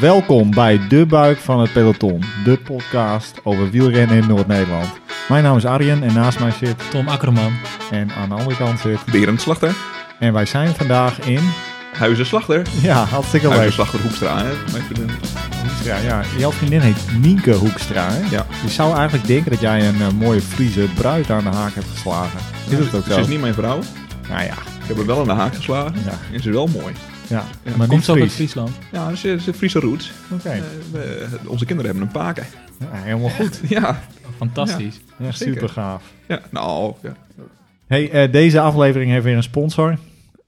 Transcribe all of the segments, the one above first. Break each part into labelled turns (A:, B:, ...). A: Welkom bij De Buik van het Peloton, de podcast over wielrennen in Noord-Nederland. Mijn naam is Arjen en naast mij zit
B: Tom Akkerman.
A: en aan de andere kant zit.
C: Berend Slachter.
A: En wij zijn vandaag in.
C: Huizen Slachter.
A: Ja, hartstikke
C: Huizen
A: leuk.
C: Slachter Hoekstra. Hè? Mijn vriendin.
A: Ja, ja. Jouw vriendin heet Nienke Hoekstra. Hè?
C: Ja.
A: Je zou eigenlijk denken dat jij een eh, mooie Friese bruid aan de haak hebt geslagen. Is het ook
C: Ze
A: zo?
C: is niet mijn vrouw.
A: Nou ja.
C: Ik heb hem wel aan de haak geslagen.
A: Ja.
C: En ze is wel mooi.
A: ja.
C: Ja,
A: Maar
B: Komt
A: niet
B: zo uit
A: Fries.
B: Friesland.
C: Ja, ze is een Friese roots.
A: Oké,
C: Eh, we- onze kinderen hebben een paken.
A: Ja, helemaal goed.
C: Ja.
B: Oh, Fantastisch.
A: Ja,
C: Zeker.
A: super gaaf.
C: ja. Nou, ja.
A: Hey, eh, deze aflevering heeft weer een sponsor.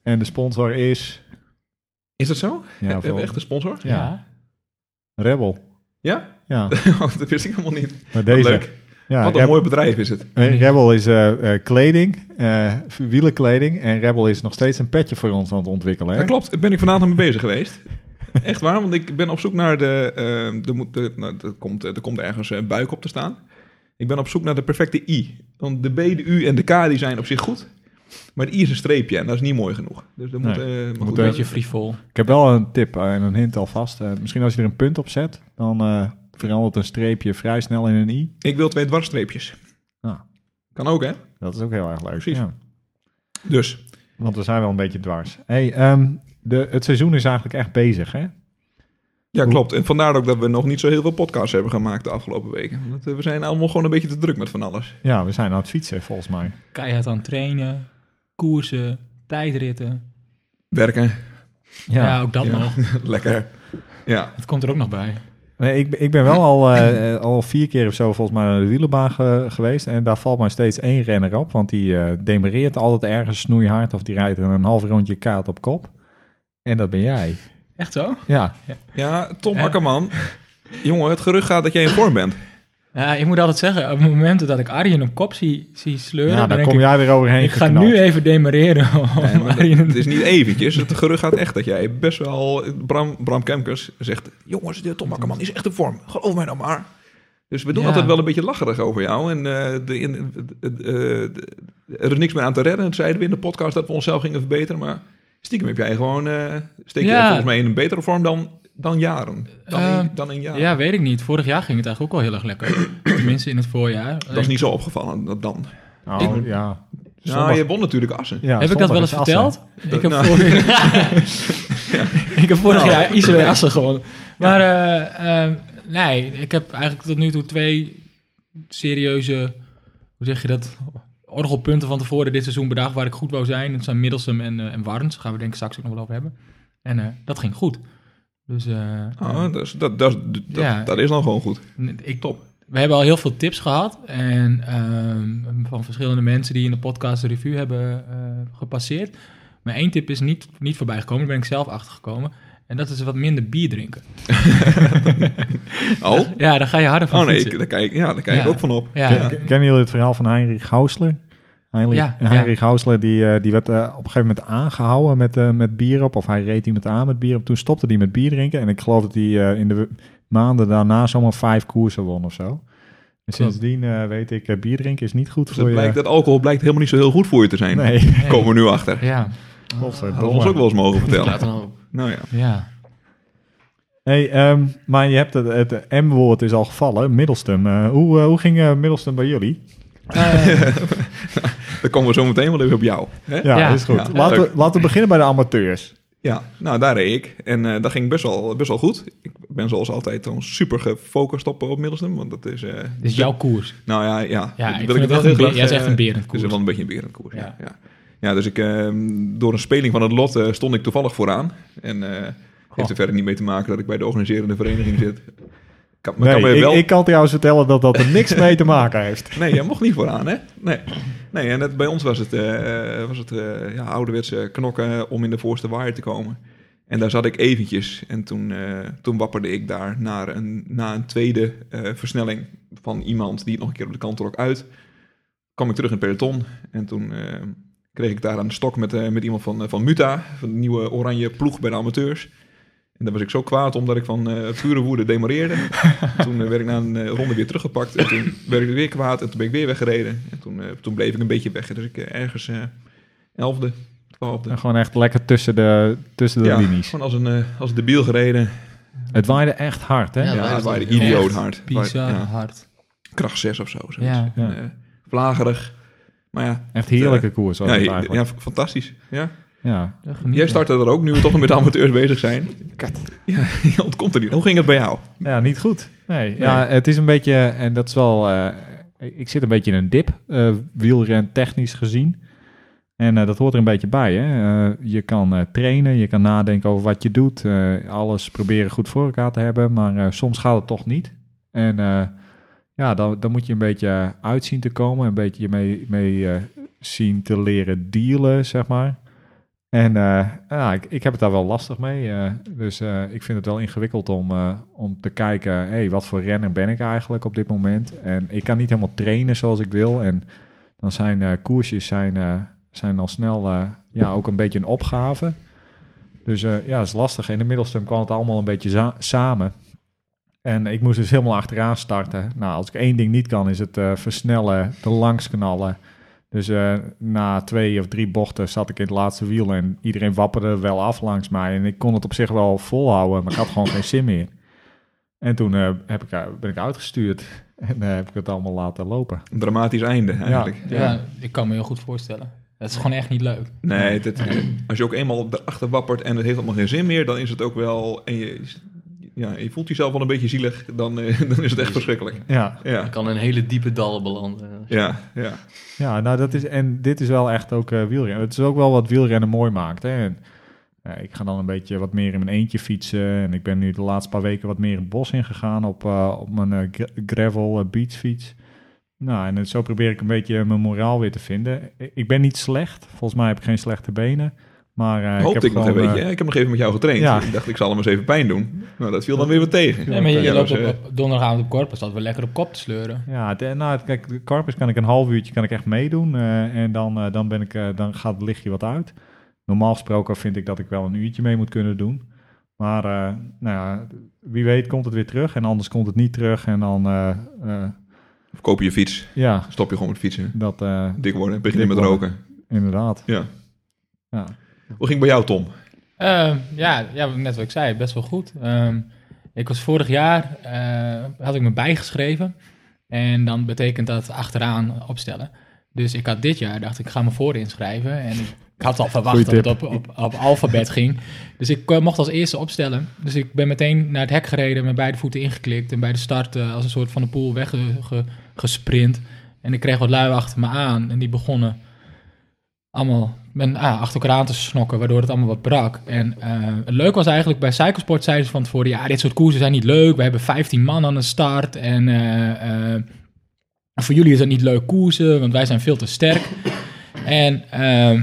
A: En de sponsor is.
C: Is dat zo?
A: Ja,
C: hebben
A: voor-
C: we echt een sponsor?
A: Ja. Rebel.
C: Ja?
A: Ja,
C: Oh, dat wist ik helemaal niet.
A: maar deze.
C: Leuk.
A: Ja,
C: Wat een
A: Reb-
C: mooi bedrijf is het.
A: eh, Rebel is eh, eh, kleding, eh, wielenkleding. En Rebel is nog steeds een petje voor ons aan het ontwikkelen. Hè?
C: Dat klopt. Daar ben ik vanavond mee bezig geweest. Echt waar, want ik ben op zoek naar de... eh, er, moet, de- nou, er, komt, er komt ergens een buik op te staan. Ik ben op zoek naar de perfecte I. Want de B, de U en de K die zijn op zich goed. Maar de I is een streepje en dat is niet mooi genoeg. Dus er moet...
A: Nee.
C: eh, maar goed,
A: moet
B: Een
A: Ja.
B: beetje frivol.
A: Ik heb wel een tip eh, en een hint alvast. Eh, misschien als je er een punt op zet, dan eh, verandert een streepje vrij snel in een i.
C: Ik wil twee dwarsstreepjes.
A: Ja.
C: Kan ook, hè?
A: Dat is ook heel erg leuk.
C: Precies.
A: Ja,
C: Dus,
A: want we zijn wel een beetje dwars. Hey, ehm, de, het seizoen is eigenlijk echt bezig, hè?
C: ja,
A: Hoe-
C: klopt. En vandaar ook dat we nog niet zo heel veel podcasts hebben gemaakt de afgelopen weken. Want eh, we zijn allemaal gewoon een beetje te druk met van alles.
A: Ja, we zijn aan het fietsen volgens mij.
B: Keihard aan het trainen, koersen, tijdritten.
C: Werken,
B: Ja, ook dat
C: Ja.
B: nog.
C: lekker. Ja,
B: Dat komt er ook nog bij.
A: Nee, ik, ik ben wel al, eh, eh, al vier keer of zo volgens mij naar de wielerbaan ge- geweest. En daar valt mij steeds één renner op. Want die eh, demereert altijd ergens snoeihard. Of die rijdt een half rondje kaart op kop. En dat ben jij.
B: Echt zo?
A: Ja,
C: ja Tom
B: Ja.
C: Akkerman. Jongen, het gerucht gaat dat jij in vorm bent.
B: Ja, ik moet altijd zeggen, op momenten dat ik Arjen op kop zie, zie sleuren,
A: ja
B: dan
A: daar
B: denk
A: kom
B: ik,
A: jij weer overheen
B: ik ga
A: geknald.
B: nu even demareren. om
C: Nee, maar
B: Arjen-
C: dat- het is niet eventjes. Het gerucht gaat echt dat jij best wel... Bram, Bram Kemkers zegt... Jongens, de Tom Akkerman is echt in vorm. Geloof mij nou maar. Dus we doen
B: Ja.
C: altijd wel een beetje lacherig over jou. En eh, de, in, eh, de- er is niks meer aan te redden. Het zeiden we in de podcast dat we onszelf gingen verbeteren. Maar stiekem heb jij gewoon... eh, steek je
B: Ja.
C: er volgens mij in een betere vorm dan, dan jaren. Dan,
B: Eh,
C: in, dan in jaren.
B: Ja, weet ik niet. Vorig jaar ging het eigenlijk ook al heel erg lekker. Tenminste in het voorjaar.
C: Dat is niet zo opgevallen dat dan.
A: Oh,
B: Ik-
A: ja.
C: Nou,
A: Zondag-
C: je won natuurlijk Assen.
A: ja,
B: heb ik dat
A: zondag
B: wel eens
A: is Assen.
B: verteld? Ik heb,
C: nou.
B: vorig, ik heb vorig
C: Nou.
B: jaar ICW Assen gewonnen. Maar eh, eh, nee, ik heb eigenlijk tot nu toe twee serieuze, hoe zeg je dat, orgelpunten van tevoren dit seizoen bedacht waar ik goed wou zijn. Dat zijn Middelsum en, eh en Warns. Daar gaan we denk ik straks ook nog wel over hebben. En eh, dat ging goed. Dus eh,
C: Oh, dat, is, dat, dat, dat,
B: Ja.
C: dat is dan gewoon goed.
B: ik, top. We hebben al heel veel tips gehad. En ehm, van verschillende mensen die in de podcast de review hebben eh, gepasseerd. Maar één tip is niet, niet voorbij gekomen. Daar ben ik zelf achter gekomen. En dat is wat minder bier drinken.
C: Oh,
B: Ja, daar ga je harder van
C: oh nee,
B: fietsen.
C: ik, daar kijk, ja, daar kijk ik
B: Ja.
C: ook van op. Dus
B: Ja,
A: Ken- Kennen jullie het verhaal van Heinrich Hausler? Heinrich,
B: Ja, ja.
A: Heinrich Hausler die, eh, die werd eh, op een gegeven moment aangehouden met, eh, met bier op. Of hij reed iemand aan met bier op. Toen stopte hij met bier drinken. En ik geloof dat hij eh, in de w- maanden daarna zomaar vijf koersen won of zo. En sindsdien eh, weet ik, eh, bier drinken is niet goed
C: Dus
A: voor
C: het
A: je.
C: blijkt dat alcohol blijkt helemaal niet zo heel goed voor je te zijn.
A: Nee,
B: Nee.
C: Komen we nu achter.
B: ja,
A: godverdomme.
C: Hadden we ons ook wel eens mogen vertellen.
D: Laten we hopen.
C: Nou ja.
B: ja.
A: Hey, ehm, maar je hebt het, het M-woord is al gevallen, Middelstum. Eh, hoe, eh, hoe ging eh, Middelstum bij jullie?
B: Eh,
C: Dan komen we zo meteen wel even op jou. Hè?
A: Ja,
B: Ja.
A: is goed.
C: Ja,
A: laten, we,
C: leuk.
A: laten we beginnen bij de amateurs.
C: Ja, nou daar reed ik. En eh, dat ging best wel, best wel goed. Ik ben zoals altijd dan super gefocust op, op Middelstum. Want dat is... eh,
B: dit is jouw koers.
C: Nou ja, ja.
B: Ja,
C: Dat
B: ik vind het wel
C: heel
B: een be-
C: graag,
B: ja, het is
C: eh,
B: echt een berend
C: Het
B: koers.
C: is wel een beetje een berend koers, ja.
B: Ja.
C: ja. Ja, dus ik, eh, door een speling van het lot eh, stond ik toevallig vooraan. En eh heeft er verder niet mee te maken dat ik bij de organiserende vereniging zit. Kan, maar kan
A: nee,
C: mij
A: ik,
C: wel...
A: ik kan trouwens vertellen dat dat er niks mee te maken heeft.
C: Nee, jij mocht niet vooraan, hè? Nee. Nee, en dat, bij ons was het, eh, was het eh, ja, ouderwetse knokken om in de voorste waaier te komen. En daar zat ik eventjes. En toen, eh, toen wapperde ik daar naar een, na een tweede eh, versnelling van iemand die het nog een keer op de kant trok uit. Kwam ik terug in het peloton. En toen eh, kreeg ik daar aan de stok met, eh, met iemand van, eh, van Muta, van de nieuwe oranje ploeg bij de amateurs. En daar was ik zo kwaad omdat ik van eh, pure woede demareerde. toen eh, werd ik na een eh, ronde weer teruggepakt. En toen werd ik weer kwaad en toen ben ik weer weggereden. En toen, eh, toen bleef ik een beetje weg. Dus ik eh, ergens eh elfde, twaalfde.
A: En Gewoon echt lekker tussen de, tussen de
C: Ja,
A: linies.
C: gewoon als een, eh, als een debiel gereden.
A: Het waaide echt hard, hè?
C: Ja,
D: Ja,
C: ja
D: wij
C: het waren
D: zijn echt
C: idioot hard.
B: Bizar
C: Ja,
B: hard.
C: kracht 6 of zo. zoiets.
B: Ja.
A: Ja.
C: Eh, vlagerig. Maar ja,
A: Echt heerlijke koers was
C: ja,
A: het
C: ja,
A: eigenlijk.
C: f- fantastisch. Ja.
A: Ja.
C: Jij startte er ook nu we toch nog met amateurs bezig zijn. Ja, je ontkomt er niet. Hoe ging het bij jou?
A: Ja, niet goed. Nee, Ja, het is een beetje, en dat is wel, eh, ik zit een beetje in een dip, eh wielren technisch gezien. En eh, dat hoort er een beetje bij. Hè? Eh, je kan eh, trainen, je kan nadenken over wat je doet, eh, alles proberen goed voor elkaar te hebben, maar eh, soms gaat het toch niet. En eh, ja, dan, dan moet je een beetje uit zien te komen, een beetje je mee, mee eh, zien te leren dealen, zeg maar. En eh, ja, ik, ik heb het daar wel lastig mee. eh, dus eh, ik vind het wel ingewikkeld om, eh, om te kijken, hey, wat voor renner ben ik eigenlijk op dit moment? En ik kan niet helemaal trainen zoals ik wil. En dan zijn eh, koersjes zijn, eh, zijn al snel eh, ja, ook een beetje een opgave. Dus eh, ja, dat is lastig. In de middelstum kwam het allemaal een beetje za- samen. En ik moest dus helemaal achteraan starten. Nou, als ik één ding niet kan, is het eh, versnellen, te langs knallen. Dus eh, na twee of drie bochten zat ik in het laatste wiel en iedereen wapperde wel af langs mij. En ik kon het op zich wel volhouden, maar ik had gewoon geen zin meer. En toen eh, heb ik, eh, ben ik uitgestuurd en eh, heb ik het allemaal laten lopen.
C: Een dramatisch einde eigenlijk.
B: Ja. ik kan me heel goed voorstellen. Dat is gewoon echt niet leuk.
C: Nee, dat, als je ook eenmaal op de achter wappert en het heeft allemaal geen zin meer, dan is het ook wel... En je, ja, je voelt jezelf wel een beetje zielig, dan, eh, dan is het echt verschrikkelijk.
A: Ja,
D: Je
C: Ja,
D: kan in hele diepe dalen belanden.
C: ja, ja.
A: Ja, nou dat is, en dit is wel echt ook eh, wielrennen. Het is ook wel wat wielrennen mooi maakt. Hè? En, eh, ik ga dan een beetje wat meer in mijn eentje fietsen. En ik ben nu de laatste paar weken wat meer het bos ingegaan op, eh, op mijn eh, gra- gravel eh, beachfiets. Nou, en zo probeer ik een beetje mijn moraal weer te vinden. I- Ik ben niet slecht. Volgens mij heb ik geen slechte benen. Maar eh, ik
C: Hoopte
A: heb
C: ik, nog een
A: gewoon,
C: beetje.
A: eh,
C: hè? Ik heb nog even met jou getraind.
A: ja.
C: Ik dacht, ik zal hem eens even pijn doen. Nou, dat viel dan weer wat tegen.
B: Nee, maar je, je
C: Ja,
B: loopt
C: dus,
B: op,
C: eh,
B: op donderdagavond op Corpus, dat we lekker op kop te sleuren.
A: Ja, de- nou, kijk, de Carpus kan ik een half uurtje kan ik echt meedoen. eh, en dan, eh, dan, ben ik, eh, dan gaat het lichtje wat uit. Normaal gesproken vind ik dat ik wel een uurtje mee moet kunnen doen. Maar eh, nou ja, wie weet komt het weer terug. En anders komt het niet terug. En dan, eh, eh,
C: Of koop je je fiets,
A: ja,
C: stop je gewoon met fietsen.
A: dat eh,
C: Dik worden, begin je
A: Dik
C: met
A: worden.
C: roken.
A: inderdaad.
C: Ja.
A: Ja.
C: Hoe ging het bij jou, Tom?
B: Eh, ja, ja, net wat ik zei, best wel goed. Ehm, ik was vorig jaar, eh, had ik me bijgeschreven. En dan betekent dat achteraan opstellen. Dus ik had dit jaar, dacht ik, ga me voor inschrijven. En ik had al verwacht dat
A: Goeie
B: het
A: tip.
B: op, op, op alfabet ging. Dus ik eh, mocht als eerste opstellen. Dus ik ben meteen naar het hek gereden, met beide voeten ingeklikt. En bij de start eh, als een soort van de pool weggesprint. En ik kreeg wat lui achter me aan. En die begonnen allemaal ben, ah, achter elkaar aan te snokken, waardoor het allemaal wat brak. En eh, het leuk was eigenlijk, bij Cyclesport zeiden ze van tevoren, ja, dit soort koersen zijn niet leuk, we hebben 15 man aan de start en eh, eh, voor jullie is dat niet leuk koersen, want wij zijn veel te sterk. en eh,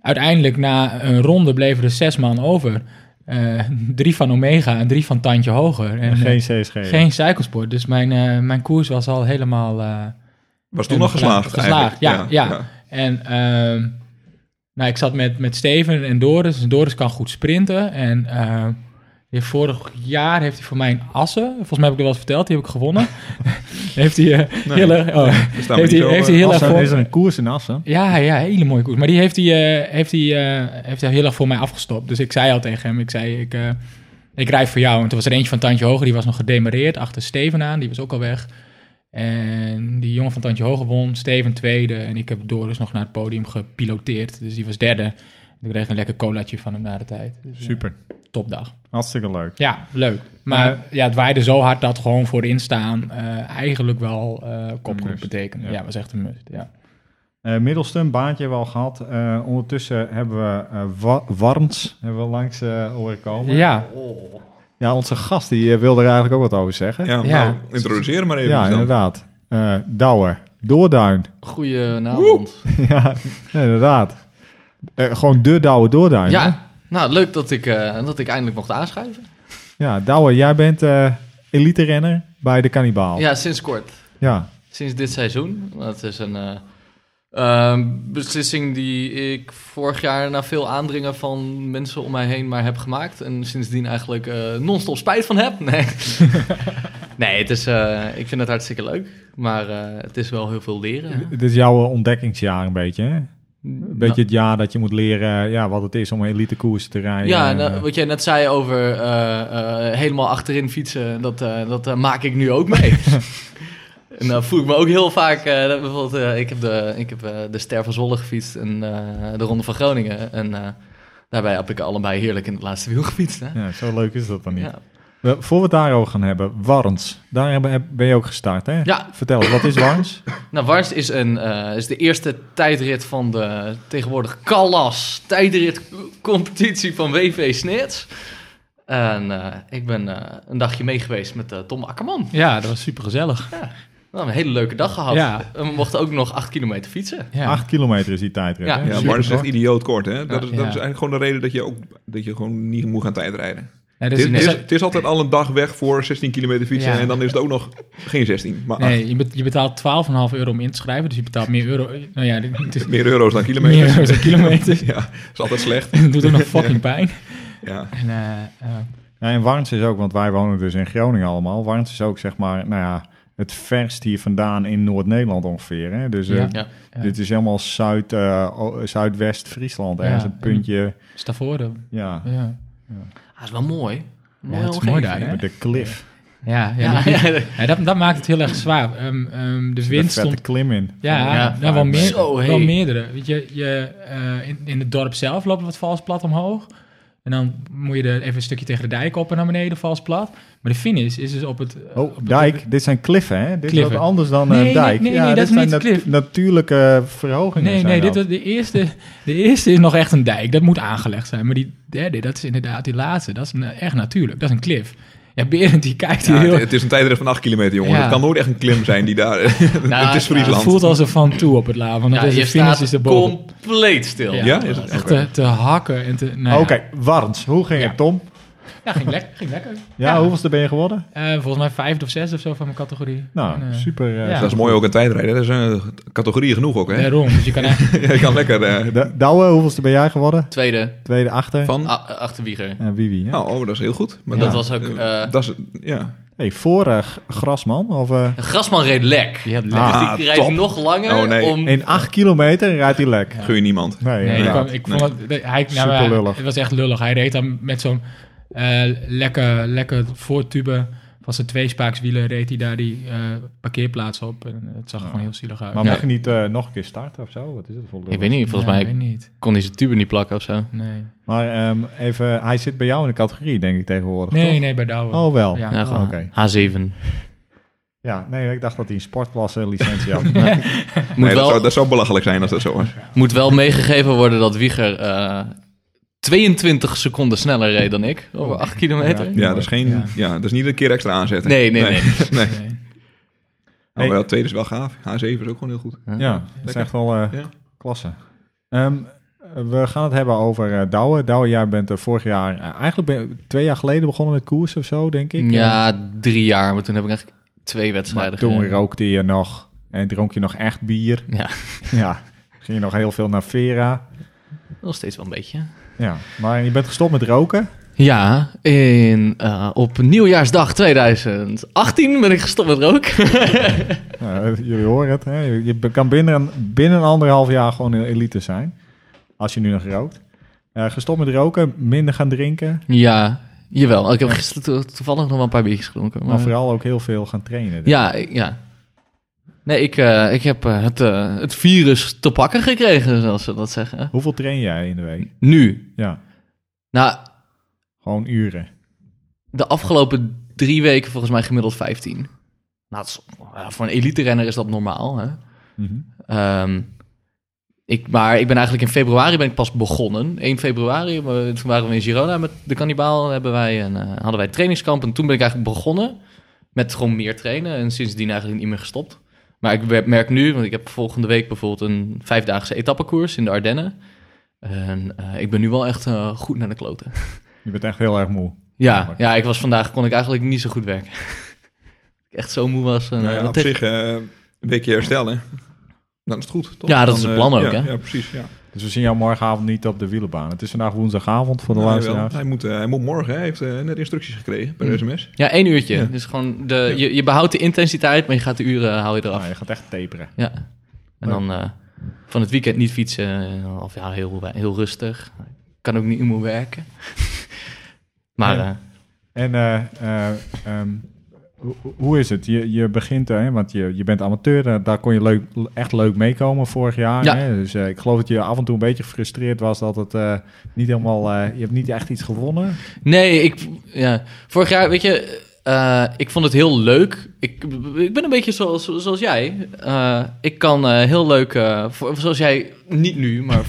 B: uiteindelijk na een ronde bleven er zes man over. Eh, drie van Omega en drie van Tandje Hoger. En,
A: En
B: eh,
A: geen CSG.
B: geen cyclesport, dus mijn, eh, mijn koers was al helemaal... eh,
C: Was toen nog geslaagd?
B: Geslaagd,
C: eigenlijk?
B: ja, en ehm, nou, ik zat met, met Steven en Doris. En Doris kan goed sprinten. En ehm, die heeft vorig jaar heeft hij voor mij een assen. Volgens mij heb ik dat wel eens verteld. Die heb ik gewonnen. heeft hij eh,
C: Nee,
B: heel erg... oh,
C: daar staan we
B: heeft
C: niet
B: hij,
C: zo,
B: heeft
C: eh,
B: hij heel erg
A: Assen,
B: voor...
A: is er een koers in Assen?
B: Ja, ja, hele mooie koers. Maar die heeft hij, eh, heeft hij, eh, heeft hij heel erg voor mij afgestopt. Dus ik zei al tegen hem, ik zei, ik, eh, ik rijd voor jou. En toen was er eentje van Tandje Hoger, die was nog gedemareerd achter Steven aan. Die was ook al weg. En die jongen van Tandje Hoger won, Steven tweede. En ik heb Doris nog naar het podium gepiloteerd. Dus die was derde. Ik kreeg een lekker colaatje van hem na de tijd. Dus, eh,
A: Super.
B: topdag.
A: Hartstikke leuk.
B: Ja, leuk. Maar
A: Eh,
B: ja, het waaide zo hard dat gewoon voorin staan eh, eigenlijk wel eh kopgroep
A: must.
B: betekende.
A: Ja.
B: Ja, was echt een must, ja.
A: Eh middelste, baantje hebben we al gehad. Eh, ondertussen hebben we eh, Wa- Warns hebben we langs eh horen komen.
B: Ja,
A: Ja, onze gast die eh, wilde er eigenlijk ook wat over zeggen.
C: Ja,
B: Ja.
C: Nou, introduceer maar even.
A: Ja,
C: dan.
A: inderdaad. Eh Douwer. Doorduin.
D: Goedenavond.
A: ja, inderdaad. Eh, gewoon de Douwe Doorduin. hè?
D: Ja, nou leuk dat ik, eh, dat ik eindelijk mocht aanschuiven.
A: ja Douwe, jij bent eh elite renner bij de Cannibaal.
D: Ja, sinds kort.
A: ja.
D: Sinds dit seizoen. Dat is een eh, ehm, beslissing die ik vorig jaar na veel aandringen van mensen om mij heen maar heb gemaakt. En sindsdien eigenlijk eh, non-stop spijt van heb. Nee, nee het is, eh, ik vind het hartstikke leuk. Maar eh, het is wel heel veel leren.
A: Dit is jouw eh, ontdekkingsjaar een beetje, hè? Een beetje het jaar dat je moet leren ja, wat het is om een elite koers te rijden.
D: Ja, nou,
A: Eh,
D: wat jij net zei over eh, eh, helemaal achterin fietsen, dat, eh, dat eh, maak ik nu ook mee. en dan voel ik me ook heel vaak, eh, dat bijvoorbeeld, eh, ik heb, de, ik heb eh, de Ster van Zwolle gefietst en eh, de Ronde van Groningen. En eh, daarbij heb ik allebei heerlijk in het laatste wiel gefietst. Hè?
A: ja, zo leuk is dat dan niet.
D: Ja.
A: We- voor we het daarover gaan hebben, Warns. Daar hebben- heb- ben je ook gestart, hè?
D: Ja.
A: Vertel, wat is Warns?
D: Nou, Wars is, een, eh, is de eerste tijdrit van de tegenwoordig Callas tijdritcompetitie van WV Snits. En eh, ik ben eh, een dagje mee geweest met eh, Tom Akkerman.
B: Ja, dat was super gezellig.
D: We hebben een hele leuke dag gehad.
B: Ja.
D: En we mochten ook nog acht kilometer fietsen.
B: Ja.
A: Acht kilometer is die tijdrit,
D: Ja,
A: hè?
C: Ja,
A: Super
C: maar dat is echt
A: kort.
C: idioot kort, hè? Dat, is,
B: Ja.
C: dat is eigenlijk gewoon de reden dat je, ook, dat je gewoon niet moet gaan tijdrijden.
B: Nee, dat
C: Het is,
B: is-
C: het is- het is altijd al een dag weg voor 16 kilometer fietsen
B: Ja.
C: en dan is het ook nog geen 16, maar acht.
B: nee, je bet- je betaalt 12,5 euro om in te schrijven, dus je betaalt meer euro. Nou ja, dit- het is
C: meer euro's dan
B: meer
C: kilometers.
B: euro dan kilometer.
C: Ja, dat is altijd slecht.
B: En het doet ook nog fucking pijn.
C: Ja.
B: En, eh, eh,
A: Ja, Nou, en Warns is ook, want wij wonen dus in Groningen allemaal. Warns is ook, zeg maar, nou ja, het verst hier vandaan in Noord-Nederland ongeveer. Hè? Dus eh,
B: Ja.
D: Ja.
B: Ja.
A: dit is helemaal Zuid, eh, o- Zuidwest-Friesland. Ergens
B: Ja. Mhm.
A: een puntje,
B: Stavoren.
A: ja,
B: Dus eh, Ja,
D: Ah, is wel mooi. Mooi
B: het is
D: omgeving.
B: mooi daar, hè?
A: met de cliff.
B: ja, ja,
D: Ja,
B: die-
D: ja,
B: ja, dat, dat maakt het heel erg zwaar. Ehm, ehm, de
A: Een
B: wind
A: vette
B: stond...
A: klim in.
B: Ja,
D: Ja,
B: nou, wel, meer,
D: Zo, hey.
B: wel meerdere. Weet je, je eh, in, in het dorp zelf loopt het vals plat omhoog. En dan moet je er even een stukje tegen de dijk op en naar beneden vals plat. Maar de finish is dus op het... op
A: Oh,
B: het-
A: dijk. Dit zijn kliffen, hè? Dit is
B: Kliffen.
A: wat anders dan een
B: Nee, nee,
A: dijk.
B: nee,
A: ja,
B: nee, dat
A: dit
B: is niet
A: zijn
B: klif.
A: natuurlijke verhogingen.
B: Nee,
A: zijn
B: nee,
A: dat.
B: dit, was de, eerste, de eerste is nog echt een dijk. Dat moet aangelegd zijn. Maar die derde, dat is inderdaad die laatste. Dat is na- echt natuurlijk. Dat is een cliff. Ja, Berend die kijkt hier
C: Ja,
B: heel...
C: het, het is een tijdrit van 8 kilometer, jongen.
B: Ja.
C: Het kan nooit echt een klim zijn die daar...
D: Nou,
C: het is
D: ja,
B: Het
C: Friesland.
B: voelt als een van toe op het la, want
D: Ja,
B: dan is
D: je
B: de finish
D: staat
B: is erboven.
D: compleet stil.
B: Ja.
C: ja, is het?
B: Echt
C: Oké.
B: te, te hakken en te... nou ja.
A: Oké, Warns. Hoe ging
B: Ja.
A: het, Tom?
B: Ja, ging, lek- ging lekker.
A: Ja, hoeveelste ben je geworden?
B: Eh, volgens mij vijfde of zes of zo van mijn categorie.
A: Nou,
B: En, eh,
A: super. eh,
B: ja.
C: Dat is mooi ook een tijdrijden. Dat is een categorie genoeg ook, hè?
B: Daarom, dus je kan echt...
C: Je kan lekker... eh,
A: Da- Douwe, hoeveelste ben jij geworden?
D: Tweede,
A: Tweede achter.
C: van...
D: a- achterwieger.
A: En Wiwi, hè?
C: Nou, oh, dat is heel goed. Maar
D: Dat
C: dat,
D: was ook... eh
C: dat is... Ja.
A: Hey, voor eh, G- Grasman, of, eh,
D: Grasman reed lek.
B: Je hebt lek.
A: Ah,
D: Dus ik rijd
C: top.
D: nog langer
C: Oh, nee.
D: om...
A: in 8 kilometer rijdt hij lek.
C: Gun je niemand.
A: Nee,
B: Nee, ik,
A: inderdaad.
B: kwam, ik vond
C: Nee.
B: het... de- Hij, nou,
A: Super
B: maar
A: lullig.
B: Het was echt lullig. Hij reed dan met zo'n eh lekker, lekker voortube van zijn tweespaakswielen reed hij daar die eh, parkeerplaats op. En het zag er gewoon heel zielig uit.
A: Maar
D: Ja.
A: mag je niet eh, nog een keer starten of zo? Wat is het voor lul?
D: niet,
B: Nee, ik weet niet.
D: kon hij zijn tube niet plakken of zo.
B: Nee,
A: Maar ehm, even, hij zit bij jou in de categorie, denk ik, tegenwoordig.
B: nee,
A: toch?
B: nee bij Douwe.
A: Oh, wel. Ja.
B: Ja. Ja,
A: gewoon
D: H7.
A: nee, ik dacht dat hij een sportklasse licentie had.
D: Moet
C: Nee, dat,
D: wel,
C: zou, dat zou belachelijk zijn als dat zo was.
D: moet wel meegegeven worden dat Wieger eh, 22 seconden sneller reed dan ik. Over 8 kilometer.
A: Ja.
C: Ja, dat is, geen, ja.
B: Oh. Ja.
C: dat is niet een keer extra aanzetten.
D: Nee, nee, nee.
C: nee.
B: Nee.
C: Oh, maar dat tweede is wel gaaf. H7 is ook gewoon heel
D: Eh,
C: goed.
A: ja, dat is echt wel eh,
C: Ja.
A: klasse. Ehm, we gaan het hebben over eh, Douwe. Douwe, jij bent er vorig jaar... eh, eigenlijk ben- twee jaar geleden begonnen met koers of zo, denk ik.
D: Ja, drie jaar. Maar toen heb ik eigenlijk twee wedstrijden
A: Toen
D: gereden.
A: rookte je nog en dronk je nog echt bier.
D: Ja,
A: Ja, ging je nog heel veel naar Vera.
D: nog steeds wel een beetje.
A: Ja, maar je bent gestopt met roken.
D: Ja, in, eh, op nieuwjaarsdag 2018 ben ik gestopt met roken.
A: Nou, jullie horen het. Hè? Je je kan binnen een, binnen een anderhalf jaar gewoon een elite zijn. Als je nu nog rookt. Eh, gestopt met roken, minder gaan drinken.
D: ja, jawel. Ik heb gisteren to- toevallig nog wel een paar biertjes gedronken.
A: Maar
D: Maar,
A: vooral ook heel veel gaan trainen.
D: ja, ik- ja. Nee, ik, eh, ik heb eh, het, eh, het virus te pakken gekregen, zoals ze dat zeggen.
A: Hoeveel train jij in de week?
D: Nu.
A: Ja,
D: Nou,
A: gewoon uren.
D: de afgelopen drie weken volgens mij gemiddeld 15. Nou, dat is- ja, voor een elite renner is dat normaal, hè?
A: Mhm.
D: Ehm, ik, maar ik ben eigenlijk in februari ben ik pas begonnen. 1 februari, maar toen waren we in Girona met de Cannibaal. en Hebben wij een, eh, hadden wij een trainingskamp. En toen ben ik eigenlijk begonnen met gewoon meer trainen. En sindsdien eigenlijk niet meer gestopt. Maar ik wer- merk nu, want ik heb volgende week bijvoorbeeld een vijfdaagse etappekoers in de Ardennen. En eh, ik ben nu wel echt eh, goed naar de kloten.
A: Je bent echt heel erg moe.
D: Ja, ja, ik was vandaag, kon ik eigenlijk niet zo goed werken. ik echt zo moe was. En,
C: Nou
D: eh,
C: ja, op
D: tegen-
C: zich eh, een weekje herstellen. Dan is het goed, toch?
D: Ja, dat
C: Dan,
D: is het
C: eh,
D: plan ook,
C: ja,
D: hè?
C: Ja, precies. Ja.
A: Dus we zien jou morgenavond niet op de wielenbaan. Het is vandaag woensdagavond voor de
C: Nou, jawel.
A: luisteraars.
C: hij, moet, eh, hij moet morgen, hè. hij heeft eh, net instructies gekregen per
D: Mm.
C: sms.
D: Ja, één uurtje.
C: Ja.
D: Dus gewoon de,
A: Ah,
D: je, je behoudt de intensiteit, maar je gaat de uren hou je eraf.
A: Nou, je gaat echt taperen.
D: Ja. En
A: Leuk.
D: dan eh, Van het weekend niet fietsen, eh, of ja, heel, heel rustig. Kan ook niet meer werken. maar
A: Ja.
D: eh,
A: En eh, eh, ehm, hoe- hoe is het? Je, je begint, hè, want je, je bent amateur, eh, daar kon je leuk, echt leuk meekomen vorig jaar.
D: Ja.
A: Hè? Dus eh, ik geloof dat je af en toe een beetje gefrustreerd was dat het eh, niet helemaal, eh, je hebt niet echt iets gewonnen.
D: Nee, ik, ja. vorig jaar, weet je, eh, ik vond het heel leuk. Ik, ik ben een beetje zoals, zoals jij. Eh, ik kan eh, heel leuk, eh, voor- zoals jij, niet nu, maar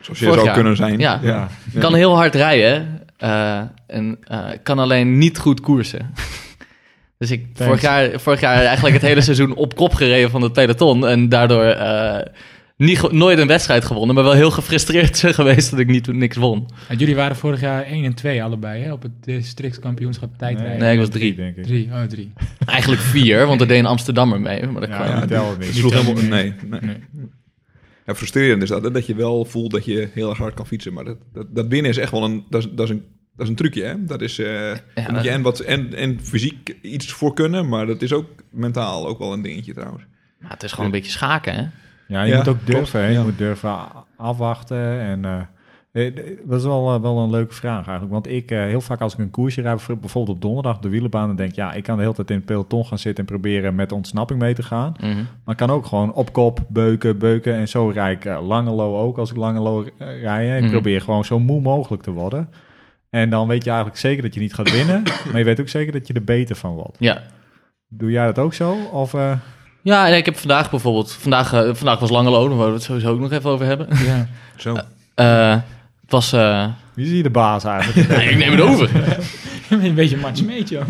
C: Zoals je
D: Vorig
C: zou
D: jaar.
C: kunnen zijn.
D: Ja.
A: Ja.
D: ik kan heel hard rijden. eh, en eh, ik kan alleen niet goed koersen. dus ik vorig jaar, vorig jaar eigenlijk het hele seizoen op kop gereden van de peloton. En daardoor eh, niet, ge- nooit een wedstrijd gewonnen, maar wel heel gefrustreerd geweest dat ik niet, niks won.
B: En jullie waren vorig jaar 1 en 2 allebei, hè? Op het districtkampioenschap tijdrijden.
D: Nee, ik was drie.
A: denk ik.
B: Drie, oh, drie.
D: Eigenlijk vier, want er deed een Amsterdammer mee. Maar dat kwam-
A: Ja,
C: Ja,
A: die tellen
C: die-
A: niet.
C: die
A: Die
C: sloeg
B: tellen
C: helemaal... Nee,
B: niet.
C: nee.
B: Nee.
C: Ja, frustrerend is dat. hè, Dat je wel voelt dat je heel erg hard kan fietsen. Maar dat, dat, dat winnen is echt wel een... Dat is, dat is een dat is een trucje, hè? Dat is, eh, daar moet je en, wat, en, en fysiek iets voor kunnen, maar dat is ook mentaal ook wel een dingetje trouwens.
D: Ja, het is gewoon een beetje schaken, hè?
A: Ja, je
C: Ja,
A: moet ook durven. hè. Je
C: klopt. Ja.
A: moet durven a- afwachten. En, eh, eh, dat is wel, eh, wel een leuke vraag eigenlijk. Want ik, eh, heel vaak als ik een koersje rijd, bijv- bijvoorbeeld op donderdag op de wielenbaan, dan denk ik, ja, ik kan de hele tijd in het peloton gaan zitten en proberen met ontsnapping mee te gaan.
D: Mhm.
A: Maar ik kan ook gewoon op kop, beuken, beuken. En zo rijd ik eh, Langelo ook als ik Langelo eh, rijd. hè. Ik
D: Mhm.
A: probeer gewoon zo moe mogelijk te worden. En dan weet je eigenlijk zeker dat je niet gaat winnen. maar je weet ook zeker dat je er beter van wordt.
D: Ja.
A: Doe jij dat ook zo? Of, eh,
D: Ja, en ik heb vandaag bijvoorbeeld... Vandaag, eh, vandaag was Langelo, daar wilden we het sowieso ook nog even over hebben.
B: Ja.
C: Zo.
D: Eh, het was... eh,
A: wie zie je de baas eigenlijk?
D: nee, ik neem het over.
B: een beetje matchmate, joh.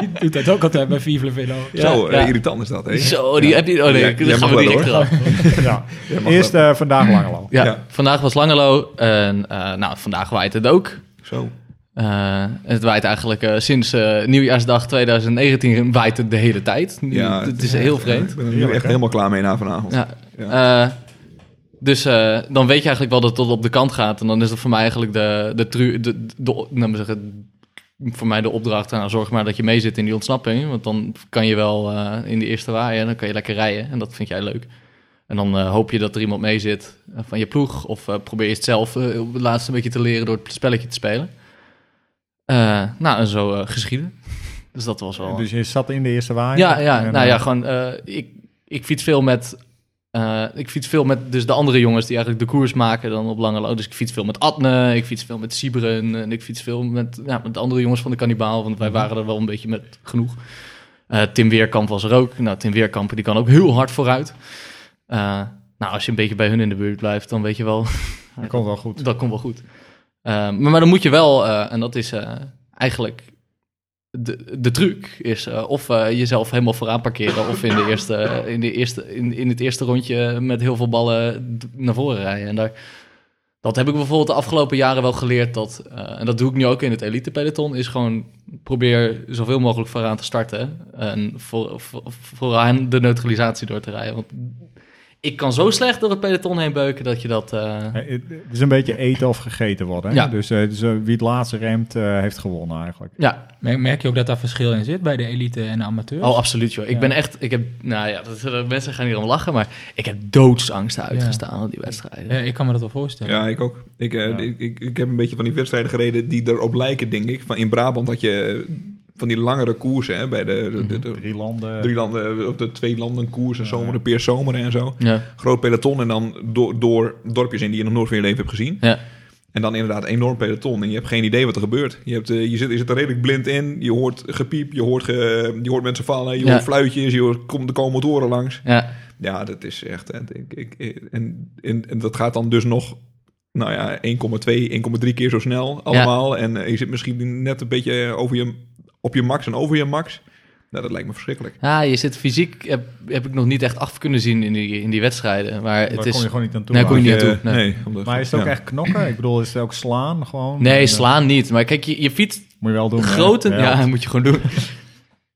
B: Die doet dat ook altijd bij Vive Le Velo.
C: Zo, eh,
D: ja.
C: irritant is dat, hè?
D: Zo, die heb je... Oh nee,
C: Ja,
D: dan
C: jij
D: gaan
C: mag wel,
D: we direct
C: hoor.
D: eraf.
A: ja.
C: Ja, mag
A: Eerst
C: dat.
A: eh, vandaag Langelo.
D: Ja,
C: Ja.
D: vandaag was Langelo. En eh, nou, vandaag waait het ook.
C: Zo.
D: Eh, het waait eigenlijk eh, sinds eh, nieuwjaarsdag 2019 waait het de hele tijd.
C: Ja,
D: het is eh, heel vreemd.
C: Ik ben er nu
A: Heerlijk,
C: echt
A: hè?
C: helemaal klaar mee na vanavond.
D: Ja. Eh, dus eh, dan weet je eigenlijk wel dat het tot op de kant gaat. En dan is dat voor mij eigenlijk de, de, tru, de, de, de- laat maar zeggen, voor mij de opdracht. Nou, zorg maar dat je mee zit in die ontsnapping. Want dan kan je wel eh, in de eerste waaien. Dan kan je lekker rijden. En dat vind jij leuk. En dan eh, hoop je dat er iemand mee zit eh, van je ploeg. Of eh, probeer je het zelf eh, op het laatste een beetje te leren door het spelletje te spelen. Eh, nou, en zo eh, geschieden. Dus dat was wel...
A: Dus je zat in de eerste waaier.
D: Ja, ja
A: En,
D: nou
A: eh,
D: ja, gewoon. eh, ik, ik fiets veel met. eh, ik fiets veel met dus de andere jongens die eigenlijk de koers maken dan op lange loop. Dus ik fiets veel met Adne, ik fiets veel met Sieberen en ik fiets veel met, ja, met de andere jongens van de Kannibaal. Want wij waren er wel een beetje met genoeg. Eh, Tim Weerkamp was er ook. Nou, Tim Weerkamp die kan ook heel hard vooruit. Eh, nou, als je een beetje bij hun in de buurt blijft, dan weet je wel
A: Dat komt wel goed.
D: dat komt wel goed. Eh, maar, maar dan moet je wel, eh, en dat is eh, eigenlijk de, de truc, is eh, of eh, jezelf helemaal vooraan parkeren of in, de eerste, in, de eerste, in, in het eerste rondje met heel veel ballen d- naar voren rijden. En daar, dat heb ik bijvoorbeeld de afgelopen jaren wel geleerd, dat, eh, en dat doe ik nu ook in het elite peloton, is gewoon probeer zoveel mogelijk vooraan te starten en voor, voor- vooraan de neutralisatie door te rijden. Want ik kan zo slecht door het peloton heen beuken dat je dat... eh,
A: Eh, Het het is een beetje eten of gegeten worden. Hè?
D: Ja.
A: Dus, eh, dus, eh, wie het laatste remt, eh, heeft gewonnen eigenlijk.
D: ja,
B: Merk, merk je ook dat daar verschil in zit bij de elite en de amateur?
D: Oh, absoluut joh. Ik
B: Ja.
D: ben echt, ik heb, nou ja, dat, dat- mensen gaan hier om lachen, maar ik heb doodsangst uitgestaan op die wedstrijden.
B: Ja, Eh, ik kan me dat wel voorstellen.
C: Ja, ik ook. Ik, eh,
A: Ja.
C: Ik, ik, ik heb een beetje van die wedstrijden gereden die erop lijken, denk ik. Van in Brabant had je eh, van die langere koersen hè, bij de, de, de- de
A: Drie landen.
C: drie landen, eh, of de twee landen koers en
A: Mhm. Ja.
C: zomer, de Peers Zomer en zo.
D: Ja.
C: Groot peloton en dan door, door dorpjes in die je nog nooit van je leven hebt gezien.
D: Ja.
C: En dan inderdaad enorm peloton en je hebt geen idee wat er gebeurt. Je, hebt, eh, je, zit, je zit er redelijk blind in, je hoort gepiep, je hoort, ge- je hoort mensen vallen, je
D: Ja.
C: hoort fluitjes, je hoort, kom, er komen motoren langs.
D: Ja.
C: Ja, dat is echt. eh, Ik, ik, ik- en, en, en dat gaat dan dus nog. Nou ja, 1,2, 1,3 keer zo snel allemaal. En eh, je zit misschien net een beetje over je, op je max en over je max. Nou, dat lijkt me verschrikkelijk.
D: Ja, je zit fysiek, heb, heb ik nog niet echt af kunnen zien in die, in die wedstrijden. Maar
A: Daar
D: het
A: kom
D: is,
A: je gewoon niet aan toe.
D: Nee, kom je
A: eigenlijk.
D: niet aan toe,
C: Eh,
D: nee.
C: omdat-
A: Maar is het ook
C: ja.
A: echt knokken? Ik bedoel, is het ook slaan gewoon? En,
D: nee,
A: eh,
D: slaan niet. Maar kijk, je, je fietst
A: Moet je wel doen. hè?
D: groten, ja,
A: Ja.
D: moet je gewoon doen.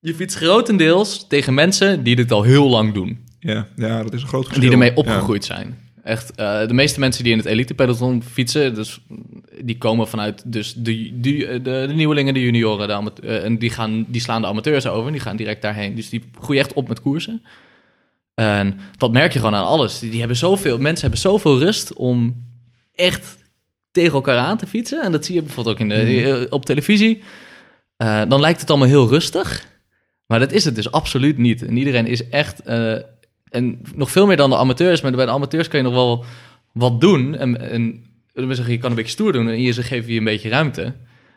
D: Je fietst grotendeels tegen mensen die dit al heel lang doen.
C: Ja, ja, dat is een groot
D: En
C: verschil.
D: die ermee
C: Ja.
D: opgegroeid zijn. Echt, eh, de meeste mensen die in het elite peloton fietsen, dus, die komen vanuit dus de, de, de, de nieuwelingen, de junioren, de amate- eh, en die, gaan, die slaan de amateurs over en die gaan direct daarheen. Dus die groeien echt op met koersen. En dat merk je gewoon aan alles. Die, die hebben zoveel, mensen hebben zoveel rust om echt tegen elkaar aan te fietsen. En dat zie je bijvoorbeeld ook in de,
C: Mm.
D: eh, op televisie. Eh, dan lijkt het allemaal heel rustig. Maar dat is het dus absoluut niet. En iedereen is echt. eh, en nog veel meer dan de amateurs. Maar bij de amateurs kun je nog wel wat doen. En, en dan zeggen, je kan een beetje stoer doen. En hier ze geven je een beetje ruimte.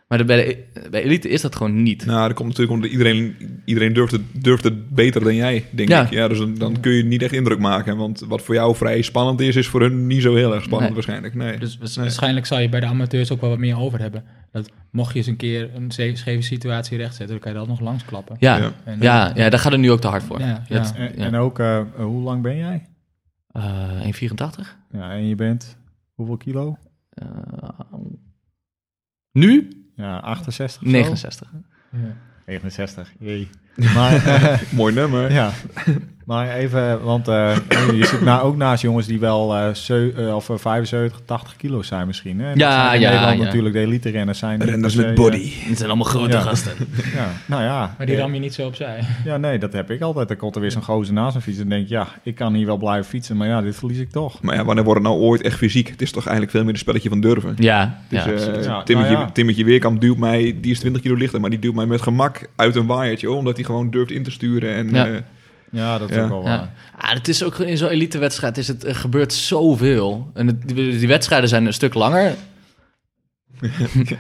D: Maar de- bij, de, bij elite is dat gewoon niet.
C: Nou, dat komt natuurlijk omdat iedereen, iedereen durft, het, durft het beter dan jij, denk
D: Ja.
C: ik. Ja, dus dan, dan kun je niet echt indruk maken. Want wat voor jou vrij spannend is, is voor hun niet zo heel erg spannend
D: Nee.
C: waarschijnlijk. Nee.
B: Dus wa-
C: Nee.
B: waarschijnlijk zal je bij de amateurs ook wel wat meer over hebben. Dat mocht je eens een keer een ze- scheve situatie rechtzetten, dan kan je dat nog langsklappen.
D: Ja,
C: Ja.
D: ja.
B: En-
D: ja, daar gaat het nu ook te hard voor.
B: Ja, ja.
D: Dat-
A: En,
D: ja.
A: en ook, eh, hoe lang ben jij?
D: Eh, 1,84?
A: Ja, en je bent hoeveel kilo?
D: Eh, nu?
A: Ja, 68 of zo?
D: 69.
A: 69, jee. Maar, eh,
C: Mooi nummer.
A: ja. maar even, want eh, je zit nou ook naast jongens die wel eh, zeu- eh, of eh, 75, 80 kilo zijn misschien. Hè? En dat
D: Ja,
A: zijn in
D: ja,
A: Nederland
D: ja.
A: natuurlijk de elite renners zijn. niet
C: Renders
A: per
C: met
A: se,
C: body.
D: Het zijn allemaal grote
A: Ja.
D: gasten.
A: eh, ja. Nou ja.
B: Maar die
A: eh,
B: ram je niet zo opzij.
A: Ja, nee, dat heb ik altijd. Dan komt er weer zo'n gozer naast een fiets en denk ik, ja, ik kan hier wel blijven fietsen, maar ja, dit verlies ik toch.
C: Maar ja, wanneer wordt het nou ooit echt fysiek? Het is toch eigenlijk veel meer een spelletje van durven.
D: Ja,
C: Dus,
D: ja.
C: eh,
A: absoluut. Ja,
C: Timmetje,
A: nou ja.
C: Timmetje Weerkamp duwt mij, die is 20 kilo lichter, maar die duwt mij met gemak uit een waaiertje, hoor, omdat hij gewoon durft in te sturen. En,
D: Ja.
C: eh,
A: Ja, dat is
C: Ja.
A: ook wel
D: ja.
A: waar.
D: Ah, het is ook in zo'n elitewedstrijd is het, er gebeurt zoveel. En het- die, die wedstrijden zijn een stuk langer.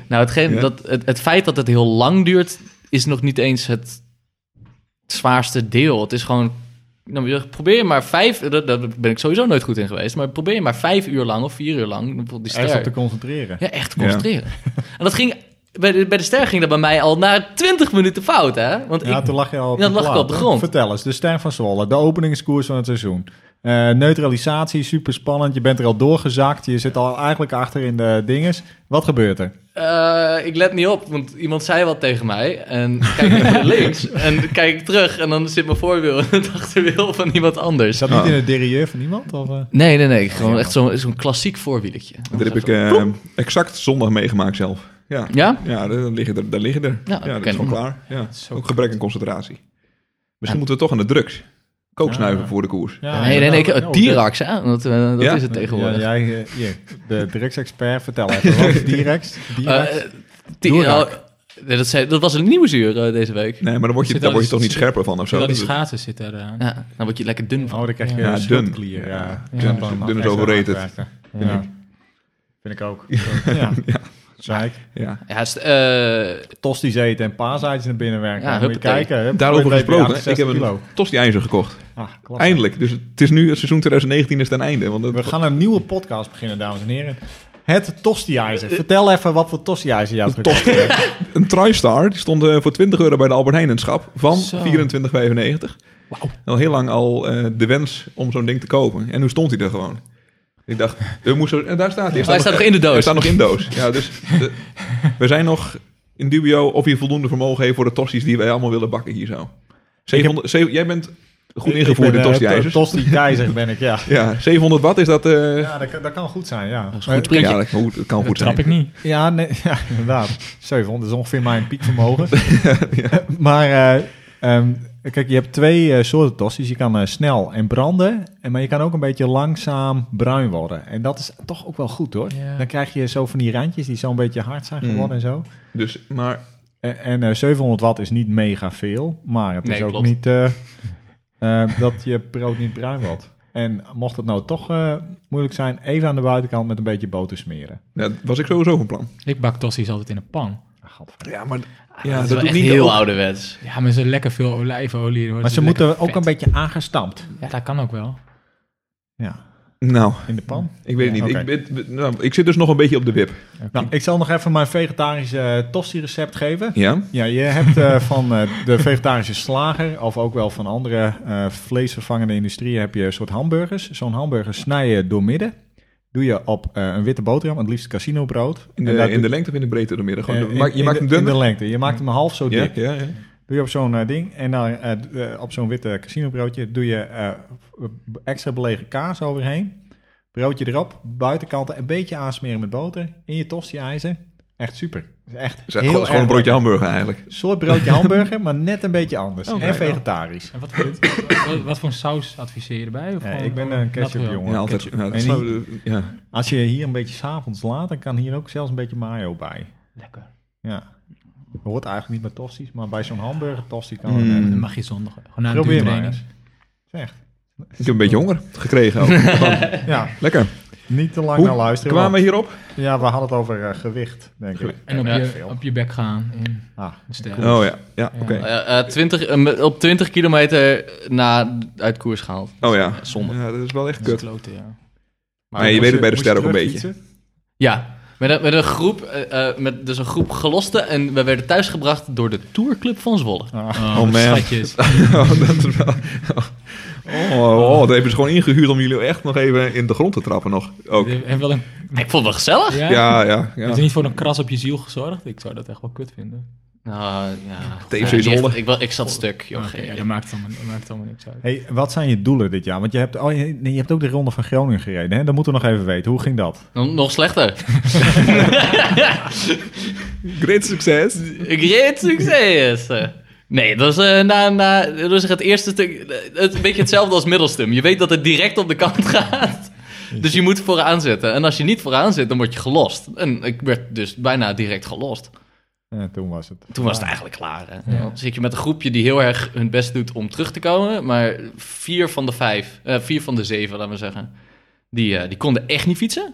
D: nou, hetgeen,
C: Ja.
D: dat, het, het feit dat het heel lang duurt, is nog niet eens het zwaarste deel. Het is gewoon. Nou, probeer je maar vijf. Daar daar ben ik sowieso nooit goed in geweest. Maar probeer je maar vijf uur lang of vier uur lang. bijvoorbeeld Die
A: Echt
D: ster-
A: op te concentreren.
D: Ja, echt te concentreren. En dat ging. Bij de, bij de ster ging dat bij mij al na 20 minuten fout, hè? Want
A: Ja,
D: ik,
A: toen lag je al op,
D: Ja,
A: de,
D: lag ik
A: plaat,
D: op de
A: hè?
D: grond.
A: Vertel eens, de Ster van Zwolle, de openingskoers van het seizoen. Eh, neutralisatie, super spannend. Je bent er al doorgezakt. Je zit al eigenlijk achter in de dinges. Wat gebeurt er?
D: eh, ik let niet op, want iemand zei wat tegen mij. En kijk ik naar links en kijk ik terug en dan zit mijn voorwiel en het achterwiel van iemand
A: Is
D: anders.
A: dat niet in het derieur van iemand? Of, eh?
D: Nee, nee, nee. Gewoon echt zo'n zo'n klassiek voorwieletje.
C: dat heb ik eh, exact zondag meegemaakt zelf. Ja,
D: Ja?
C: ja daar, daar liggen er. Daar liggen er. Ja,
D: Ja,
C: dat
D: ken-
C: is gewoon klaar. Ja.
B: Zo
C: Ook gebrek aan concentratie.
D: Ja.
C: Misschien moeten we toch aan de drugs. Kook
A: Ja.
C: snuiven voor de koers.
A: Ja,
D: nee, nee, nee.
A: inderdaad.
D: Ik,
A: Oh,
D: Dirax, hè? Dat, eh, dat
C: Ja?
D: is het
A: dat-
D: tegenwoordig.
A: Ja, jij, eh, hier, de drugsexpert, vertel even. Wat is Direx? Direx?
D: Eh, die-
A: Dirax.
D: oh, nee, dat, zei, dat was een nieuwsuur eh, deze week.
C: Nee, maar dan word je,
B: Zit
C: daar
B: al
C: word je
B: die-
C: toch niet scherper van of zo.
B: Terwijl die
C: Dat-
B: schaatsen zit er eh, aan.
D: Ja, dan word je lekker dun van.
A: oh, dan krijg je
B: ja,
A: weer een
C: dun.
A: schildklier. Ja,
C: Ja,
A: Ja,
C: dun is-
A: dan-
C: dun is
A: extra
C: overrated.
A: aankrijgen.
B: Ja.
A: Ja. Vind ik ook. Ja. Zeik.
C: ja.
D: Ja, st- eh,
A: Tosties eten en paaseitjes naar binnen werken.
D: Ja,
A: Ja, moet je
D: huppatee.
A: kijken. hup,
C: Daarover
A: voor je
C: gesproken.
A: weet
C: hè, Ik
A: ben
C: heb
A: je 68
C: een tosti-ijzer gekocht.
A: kilo. Ah, klasse.
C: Eindelijk. Dus het is nu, het seizoen 2019 is ten einde. Want
A: We
C: het,
A: gaan een nieuwe podcast beginnen, dames en heren. Het tostiijzer.
C: Eh,
A: Vertel even wat voor tostiijzer je hebt gekocht.
C: een TriStar die stond eh, voor 20 euro bij de Albert Heijn in het schap. Van
D: Zo.
C: 24,95. Al heel lang al eh, de wens om zo'n ding te kopen. En nu stond hij er gewoon. Ik dacht, we moesten, en daar staat hij. Hij
D: hij staat nog in de
C: Hij
D: doos.
C: staat nog in doos. Ja, dus de- we zijn nog in dubio of je voldoende vermogen heeft voor de tossies die wij allemaal willen bakken hier zo. 700, zeven- jij bent goed ingevoerd
D: eh,
C: in tosti
A: Tostiijzer eh, ben ik, ja.
C: Ja, 700 watt is dat... eh, ja,
A: Ja, dat, kan- dat kan goed zijn, ja. Eh,
D: is een goed
C: dat,
D: printje.
C: kan- dat kan
B: Dat
C: goed
B: trap
C: zijn.
B: ik niet.
A: Ja, nee, ja, inderdaad. 700 is ongeveer mijn piekvermogen. Maar eh, ehm, kijk, je hebt twee eh, soorten tosti's. Je kan eh, snel en branden, en, maar je kan ook een beetje langzaam bruin worden. En dat is toch ook wel goed, hoor.
B: Ja.
A: Dan krijg je zo van die randjes die zo'n beetje hard zijn geworden
C: Mm.
A: en zo.
C: Dus, maar
A: En, en, eh, 700 watt is niet mega veel, maar het is
D: Nee,
A: ook
D: klopt.
A: niet eh, eh, dat je brood niet bruin wordt. En mocht het nou toch eh, moeilijk zijn, even aan de buitenkant met een beetje boter smeren.
C: ja, dat was ik sowieso van plan.
B: Ik bak tossies altijd in een pan.
A: Ah, gadver.
C: Ja, maar
D: Ja, dat,
C: doet
D: is wel
C: niet
D: echt heel
C: ook-
D: ouderwets.
B: Ja, maar ze lekker veel olijfolie. dan wordt
A: Maar ze
B: het lekker
A: moeten ook
B: vet.
A: een beetje aangestampt.
B: Ja, dat kan ook wel.
A: Ja,
C: Nou,
A: in de pan.
C: ik weet het
A: Ja,
C: niet.
A: oké.
C: Ik, ben- nou, ik zit dus nog een beetje op de wip.
A: Nou, ik zal nog even mijn vegetarische eh, tosti-recept geven.
C: Ja?
A: Ja, je hebt eh, van eh, de vegetarische slager, of ook wel van andere eh, vleesvervangende industrieën, heb je een soort hamburgers. Zo'n hamburger snij je doormidden. Doe je op eh, een witte boterham, het liefst casino-brood.
C: In
A: En
C: de,
A: daar
C: in
A: doe-
C: de lengte of in de breedte door midden. Gewoon,
A: eh,
C: de-
A: in-
C: maak- je
A: in
C: maakt
A: de-
C: hem dunner.
A: In de lengte. Je maakt hem half zo
C: ja,
A: dik.
C: ja, ja.
A: Doe je op zo'n eh, ding. En dan eh, d- eh, op zo'n witte casinobroodje doe je eh, extra belegen kaas overheen. Broodje erop, buitenkanten een beetje aansmeren met boter. In je tosti-ijzer. Echt super. Het is Echt
C: Het is gewoon, gewoon een broodje hamburger eigenlijk.
A: Een soort broodje hamburger, maar net een beetje anders.
B: Oké,
A: en vegetarisch.
B: En wat voor, wat- wat, wat voor een saus adviseer je erbij? Of
A: Nee,
B: gewoon-
A: ik ben een ketchup
B: natural?
A: jongen.
C: Ja, altijd. Ja, dat
A: En
C: snap
A: die-
C: ik, ja.
A: Als je hier een beetje s'avonds laat, dan kan hier ook zelfs een beetje mayo bij.
B: Lekker.
A: Ja. Dat hoort eigenlijk niet bij tosti's, maar bij zo'n hamburger tosti kan
C: Mm.
A: het.
B: Dan
A: net.
B: mag je zondag gewoon naar een
A: Probeer maar
B: duurtraining.
A: eens. Is Echt.
C: Ik heb een beetje honger gekregen. Ook. Gewoon,
A: Ja,
C: Lekker.
A: niet te lang
C: Hoe
A: naar luisteren.
C: kwamen we
A: want-
C: hierop?
A: Ja, we hadden het over eh, gewicht, denk ik.
C: Gewicht.
B: En op,
D: Ja,
B: je,
A: veel.
B: op je bek gaan. in
A: Ah,
B: de sterren.
C: Oh ja, ja oké.
D: Eh, eh, 20, eh, met- op 20 kilometer na, uit koers gehaald.
C: Oh ja.
D: Zonde.
C: Ja, dat is wel echt
B: Dat is
C: kut.
B: kloten, ja.
D: Maar
C: Nee, je weet het bij de
A: Moest
C: ster ook een
A: terug
C: beetje.
A: fietsen?
D: Ja, met een, met een groep, eh, eh, met dus een groep gelosten. En we werden thuisgebracht door de Tourclub van Zwolle.
A: Ah,
B: Oh,
C: man.
B: Schatjes.
C: Oh, dat is wel... Oh, oh, dat hebben ze gewoon ingehuurd om jullie echt nog even in de grond te trappen nog. Ook.
B: Je hebt wel een-
D: Ik vond het wel gezellig.
B: Ja?
C: Ja, ja, ja.
B: Heeft er niet voor een kras op je ziel gezorgd? Ik zou dat echt wel kut vinden.
D: Nou, ja.
C: TVC
D: Ja, die
C: Zwolle.
D: heeft- Ik, wa- ik zat stuk, joh.
B: Oké, ja, dat maakt het allemaal, dat maakt het allemaal niks uit.
A: Hey, wat zijn je doelen dit jaar? Want je hebt, oh, je, nee, je hebt ook de Ronde van Groningen gereden. Hè? Dat moeten we nog even weten. Hoe ging dat?
D: Nog- Nog slechter.
C: Great succes.
D: Great succes! Nee, dat is, eh, na, na, dat is het eerste stuk. eh, Het, een beetje hetzelfde als middelstum. Je weet dat het direct op de kant gaat. Dus je moet vooraan zitten. En als je niet vooraan zit, dan word je gelost. En ik werd dus bijna direct gelost.
A: Eh, toen was het.
D: Toen was het eigenlijk klaar. Hè? Dan zit je met een groepje die heel erg hun best doet om terug te komen. Maar vier van de vijf, eh, vier van de zeven, laten we zeggen, die, eh, die konden echt niet fietsen.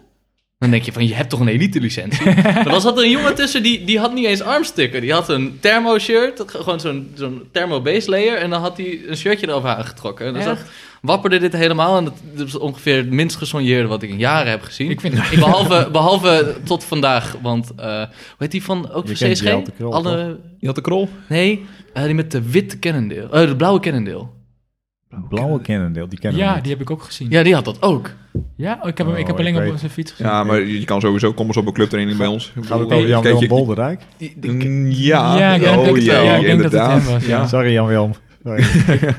D: Dan denk je van, je hebt toch een elite licentie? maar dan zat er een jongen tussen, die, die had niet eens armstukken. Die had een thermo shirt, gewoon zo'n zo'n thermo base layer. En dan had hij een shirtje erover aangetrokken. En dan zat, wapperde dit helemaal. En dat, dat is ongeveer het minst gesonjeerde wat ik in jaren heb gezien.
B: Ik vind het
D: behalve, behalve tot vandaag, want eh, hoe heet die van, ook
A: Je
D: van
A: kent
D: CSG?
A: Jelte Krol,
D: Alle,
C: Je had de krol.
D: Nee, eh, die met de witte Cannondale. eh, de blauwe Cannondale.
A: Ah, Blauwe Cannondale, die kennen we
B: Ja,
A: niet.
B: die heb ik ook gezien. Ja,
D: Ja, die had dat ook.
B: oh, ik heb, hem, ik
A: Oh,
B: heb alleen
A: ik
B: op
A: weet-
B: zijn fiets gezien.
C: Ja, maar je je kan sowieso, kom eens op een clubtraining bij ons.
A: Gaat het
C: Ik bedoel,
A: over
C: kijk,
A: Jan-Willem
C: je-
A: Bolderdijk?
C: Mm, Ja,
B: Ja, ik denk
C: oh
B: het
C: ja,
B: wel. Ja, ik denk dat het
C: inderdaad.
B: hem eh, was, ja.
C: Ja.
A: Sorry Jan-Willem. Sorry.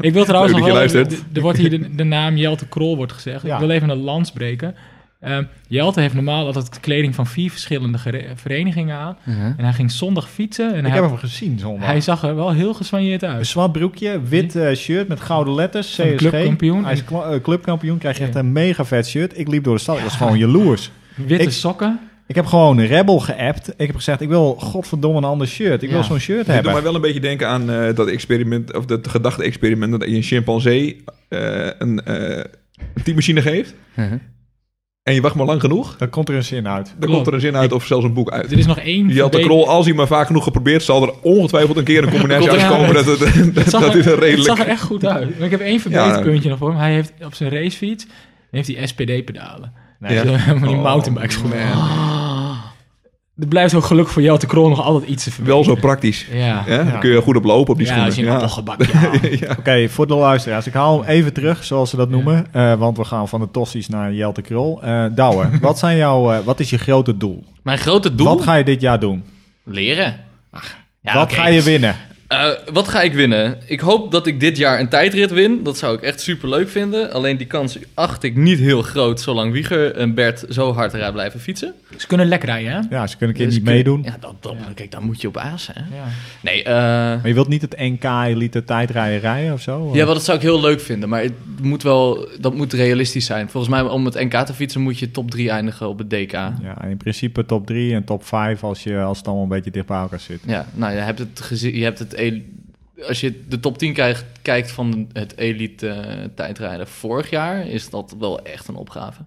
B: Ik wil trouwens
C: Leuk
B: nog wel...
C: dat je
B: even-
C: luistert.
B: d- Er wordt hier de, de naam Jelte Krol wordt gezegd.
A: Ja.
B: Ik wil even een lans breken. Ehm, Jelte heeft normaal altijd kleding van vier verschillende gere- verenigingen aan.
A: Uh-huh,
B: En hij ging zondag fietsen. En
A: Ik
B: Nou, hij,
A: heb hem gezien zondag.
B: hij zag er wel heel geswanjeerd
A: Een
B: uit.
A: zwart broekje, wit eh, shirt met gouden letters,
B: Van de
A: CSG.
B: clubkampioen.
A: Hij is kla- eh, clubkampioen, krijg je echt een mega vet shirt. Ik liep door de stad, ik was gewoon jaloers.
B: Witte
A: Ik-
B: sokken.
A: Ik heb gewoon Rebel geappt. Ik heb gezegd, ik wil godverdomme een ander shirt. Ik
B: Ja.
A: wil zo'n shirt
C: Het doet mij
A: hebben.
C: wel een beetje denken aan eh, dat experiment, of dat gedachte-experiment dat je een chimpansee eh, een eh een typemachine geeft.
A: uh-huh.
C: En je wacht maar lang genoeg,
A: Dan komt er een zin uit.
C: dan komt er een zin uit of zelfs een boek uit.
B: Er is nog één...
C: Je had de
B: verdediging-
C: krol, als hij maar vaak genoeg geprobeerd, zal er ongetwijfeld een keer een combinatie
B: Komt er-
C: uitkomen dat, het,
B: Het
C: dat,
B: zag,
C: is
B: er,
C: een
B: het zag er
C: redelijk...
B: echt goed uit. Maar ik heb één verbeterpuntje nog voor hem. Hij heeft op zijn racefiets heeft hij SPD-pedalen.
A: Nee.
B: Dus, eh, van
C: Oh.
B: die mountainbike schoenen.
C: man.
D: Ah,
B: Er blijft ook gelukkig voor Jelte Krol nog altijd iets te verbeteren.
C: Wel zo praktisch.
B: Ja,
C: Hè? Daar kun je goed op lopen op die
B: ja
C: schoenen.
B: als je nou een
C: Ja.
B: appelgebakje haalt.
A: Oké, voor de luisteraars. Ik haal hem even terug, zoals ze dat noemen. Eh, want we gaan van de tossies naar Jelte Krol. Eh Douwe, wat, zijn jouw, eh, wat is je grote doel?
D: Mijn grote doel?
A: Wat ga je dit jaar doen?
D: Leren. Ach, ja,
A: wat
D: oké.
A: ga je winnen?
D: Eh, wat ga ik winnen? Ik hoop dat ik dit jaar een tijdrit win. Dat zou ik echt super leuk vinden. Alleen die kans acht ik niet heel groot, zolang Wieger en Bert zo hard eruit blijven fietsen.
B: Ze kunnen lekker rijden, hè?
A: Ja, ze kunnen een keer
D: Dus
A: niet
D: kun-
A: meedoen.
D: Ja, dat, dat, kijk, daar moet je op aas, hè?
B: Ja.
D: Nee, eh...
A: Maar je wilt niet het NK elite tijdrijden rijden of zo?
D: Ja, wel, dat zou ik heel leuk vinden, maar het moet wel, dat moet realistisch zijn. Volgens mij, om het NK te fietsen, moet je top 3 eindigen op het DK. Ja,
A: Ja, in principe top 3 en top 5 als, je, als het allemaal een beetje dicht bij elkaar zit.
D: nou, je hebt het gezien, je hebt het, el- als je de top 10 krijgt, kijkt van het elite eh, tijdrijden vorig jaar, is dat wel echt een opgave.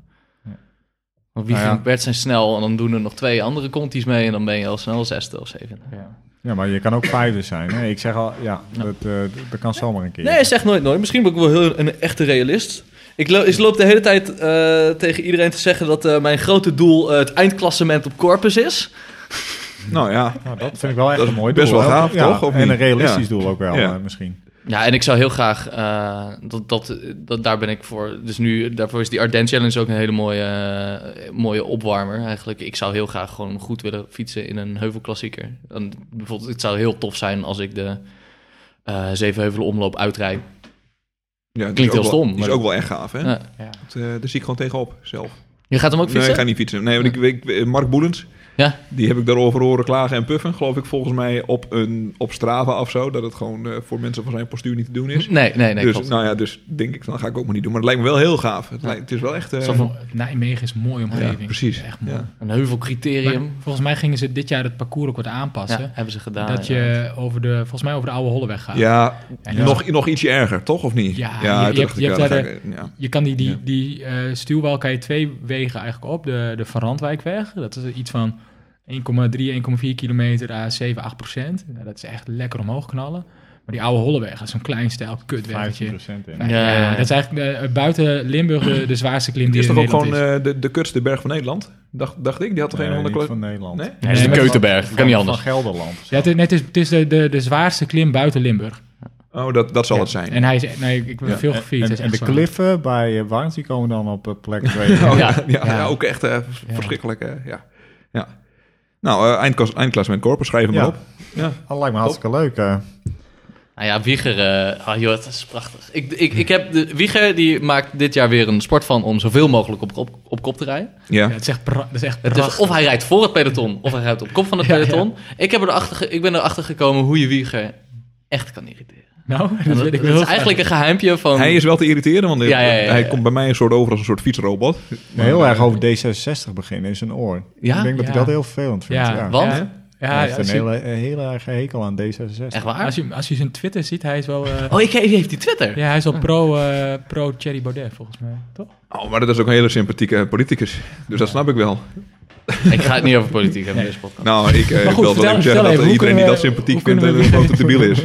D: Want wie
A: Nou ja.
D: ging Bert zijn snel en dan doen er nog twee andere conties mee en dan ben je al snel zesde of zevende.
B: Ja.
A: Ja, maar je kan ook vijfde zijn. Hè? Ik zeg al, ja, dat, eh, d- dat kan zomaar een keer.
D: Nee, zeg nooit nooit. Misschien ben ik wel heel, een echte realist. Ik, lo- ik loop de hele tijd eh, tegen iedereen te zeggen dat eh, mijn grote doel eh, het eindklassement op Corpus is.
C: Nou ja,
A: Nou, dat vind ik wel echt
C: Dat is
A: een mooi
C: best
A: doel.
C: wel
A: hè?
C: gaaf,
A: Ja,
C: toch? Of
A: en
C: niet?
A: een realistisch
C: Ja.
A: doel ook wel,
C: Ja.
A: eh, misschien.
D: Ja, en ik zou heel graag, eh, dat, dat, dat, daar ben ik voor. Dus nu, daarvoor is die Ardennes Challenge ook een hele mooie, eh, mooie opwarmer eigenlijk. Ik zou heel graag gewoon goed willen fietsen in een heuvelklassieker. Dan, bijvoorbeeld, het zou heel tof zijn als ik de eh Zevenheuvelen omloop uitrijd.
C: ja die is
D: Klinkt
C: ook
D: heel
C: wel-
D: stom,
C: die
D: maar-
C: is ook wel echt gaaf, hè?
D: Ja.
C: Dat, eh, daar zie ik gewoon tegenop zelf.
D: Je gaat hem ook
C: Nee,
D: fietsen?
C: ik ga niet fietsen. Nee, want ik, ik, Mark Boelens,
D: Ja.
C: Die heb ik daarover horen klagen en puffen, geloof ik volgens mij op, een, op Strava of zo. Dat het gewoon eh, voor mensen van zijn postuur niet te doen is.
D: Nee, nee, nee.
C: dus
D: klopt.
C: nou ja, dus denk ik, dan ga ik ook maar niet doen. Maar het lijkt me wel heel gaaf. Het,
D: Ja.
C: lijkt, het is wel echt... eh,
D: Zo van-
B: Nijmegen is een mooie omgeving.
C: ja, precies.
B: Echt mooi.
C: Ja.
D: Een heuvelcriterium.
B: Maar volgens mij gingen ze dit jaar het parcours ook wat aanpassen.
D: Ja, hebben ze gedaan.
B: dat
D: ja.
B: je over de, volgens mij over de oude Holleweg gaat.
C: Ja,
B: En dat-
C: Nog, nog ietsje erger, toch? Of niet?
B: Ja, je-
C: toen
B: je
C: dacht
B: hebt- je
C: ik,
B: hebt
C: ja,
B: daar
C: dan ga ik- ja.
B: Je kan die, die,
C: Ja.
B: die eh, stuwwal kan je twee wegen eigenlijk op. De, de Van Randwijkweg, dat is iets van 1,3, 1,4 kilometer à 7, 8 procent. Nou, dat is echt lekker omhoog knallen. Maar die oude Holleweg, dat is zo'n klein stijl kutweggetje.
A: 15% in.
B: Ja,
D: Ja, ja, ja.
B: dat is eigenlijk eh, buiten Limburg de, de zwaarste klim
C: Het
B: die
C: is
B: er
C: toch
B: in
C: ook gewoon
B: Nederland is.
C: eh, de, de kutste berg van Nederland? Dacht, dacht ik, die had toch een
A: Nee,
C: of andere
A: Eh, niet
C: kleur-
A: van Nederland.
C: Nee?
D: Nee, dat is
B: Nee,
D: de
B: maar-
D: Keutenberg. kan niet
A: Van-
D: anders.
A: Van Gelderland.
B: Ja, het, is- nee, het is, het is de, de, de zwaarste klim buiten Limburg.
C: Oh, dat, dat zal
B: Ja.
C: het zijn.
B: En hij is, nee, ik ben
C: Ja,
B: veel
A: En-
B: gefietst.
A: En,
B: dat is
A: en de
B: echt zwaar.
A: kliffen bij eh, Warns, die komen dan op eh, plek 2.
C: Oh, ja,
D: Ja.
C: ja, ja,
B: Ja.
C: ook echt eh, verschrikkelijk. eh, ja. Ja. Nou, eh, eindklas, eindklassement Corpus, schrijf hem
A: Ja.
C: maar op. Ja.
A: Dat lijkt me hartstikke leuk. eh.
D: Nou ja, Wieger, eh, ah joh, dat is prachtig. Ik, ik, ik heb de, Wieger die maakt dit jaar weer een sport van om zoveel mogelijk op, op, op kop te rijden.
C: Ja.
B: Ja, het is echt, pra- dat is echt
D: Het
B: prachtig.
D: is, of hij rijdt voor het peloton, of hij rijdt op kop van het
B: Ja, ja.
D: peloton. Ik, heb erachter, ge- ik ben erachter gekomen hoe je Wieger echt kan irriteren.
B: nou, dat,
D: En
B: weet
D: Dat,
B: ik
D: dat
B: wel.
D: is eigenlijk een geheimpje van...
C: Hij is wel te irriteren, want
D: Ja, ja, ja, ja.
C: hij komt bij mij een soort over als een soort fietsrobot.
A: heel erg over D66 beginnen in zijn oor.
D: Ja?
A: Ik denk dat ik
B: Ja.
A: dat heel vervelend vind.
B: Ja,
A: Ja,
D: Wat? Want?
B: Ja,
A: Hij
B: ja,
A: heeft
B: als,
A: een
B: je,
A: hele, een hele erg hekel aan D66.
D: Echt waar?
B: als, je, als je zijn Twitter ziet, hij is wel... eh,
D: Oh, ik, die heeft die Twitter.
B: Ja, hij is al pro, eh, pro Thierry Baudet, volgens mij. Toch?
C: Oh, maar dat is ook een hele sympathieke politicus. Dus dat snap ik wel.
D: Ik ga het niet over politiek hebben in deze podcast.
C: Nou, ik, eh, ik
B: goed, vertel-
C: wil wel even zeggen
B: vertel
C: dat
B: even, hoe
C: iedereen
B: kunnen
C: die
B: we-
C: dat sympathiek
B: hoe
C: vindt
B: kunnen
C: een
B: we
C: grote debiel is.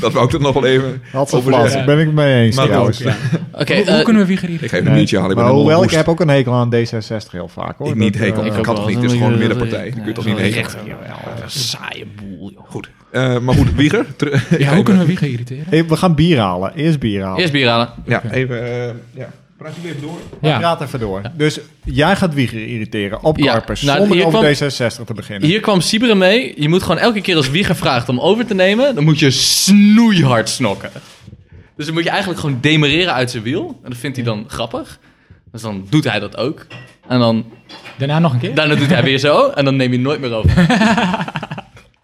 C: dat wou ik dat nog wel even
A: Had ze
C: over
A: vlas,
C: zeggen.
A: daar ben ik het mee eens
C: Maar goed,
A: trouwens.
B: ja.
D: Oké,
C: Nou,
B: hoe, hoe
D: eh,
B: kunnen we Wieger
C: Ik
B: irriteren?
C: geef hem niet, ja.
A: Maar hoewel, ik heb ook een hekel aan D66 heel vaak hoor.
C: Ik niet
A: Dat,
C: hekel
A: eh,
C: aan.
D: ook
C: kan toch
D: wel.
C: niet?
D: Dan
C: Het is
D: moet
C: gewoon
D: je
C: een
D: dat-
C: middenpartij.
D: nee,
C: Je kunt toch
D: dat
C: niet
D: is
C: regelen?
D: echt- jawel, dat is een saaie boel, joh.
C: Goed. Eh, maar goed, Wieger. ter- ik
B: Ja,
C: ga
B: hoe kunnen
C: even-
B: we Wieger irriteren?
A: hey, we gaan bier halen. Eerst bier halen.
D: Eerst bier halen.
C: Ja, even... eh, ja. Praat jullie even door?
A: Maar
B: Ja,
A: Praat even door. Dus jij gaat Wieger irriteren op
D: Ja,
A: Karpers,
D: nou, hier
A: zonder over
D: kwam-
A: D66 te beginnen.
D: Hier kwam Sibere mee. Je moet gewoon elke keer als Wieger vraagt om over te nemen, dan moet je snoeihard snokken. Dus dan moet je eigenlijk gewoon demereren uit zijn wiel. En dat vindt hij dan grappig. Dus dan doet hij dat ook. En dan,
B: daarna nog een keer.
D: daarna doet hij weer zo. En dan neem je nooit meer over.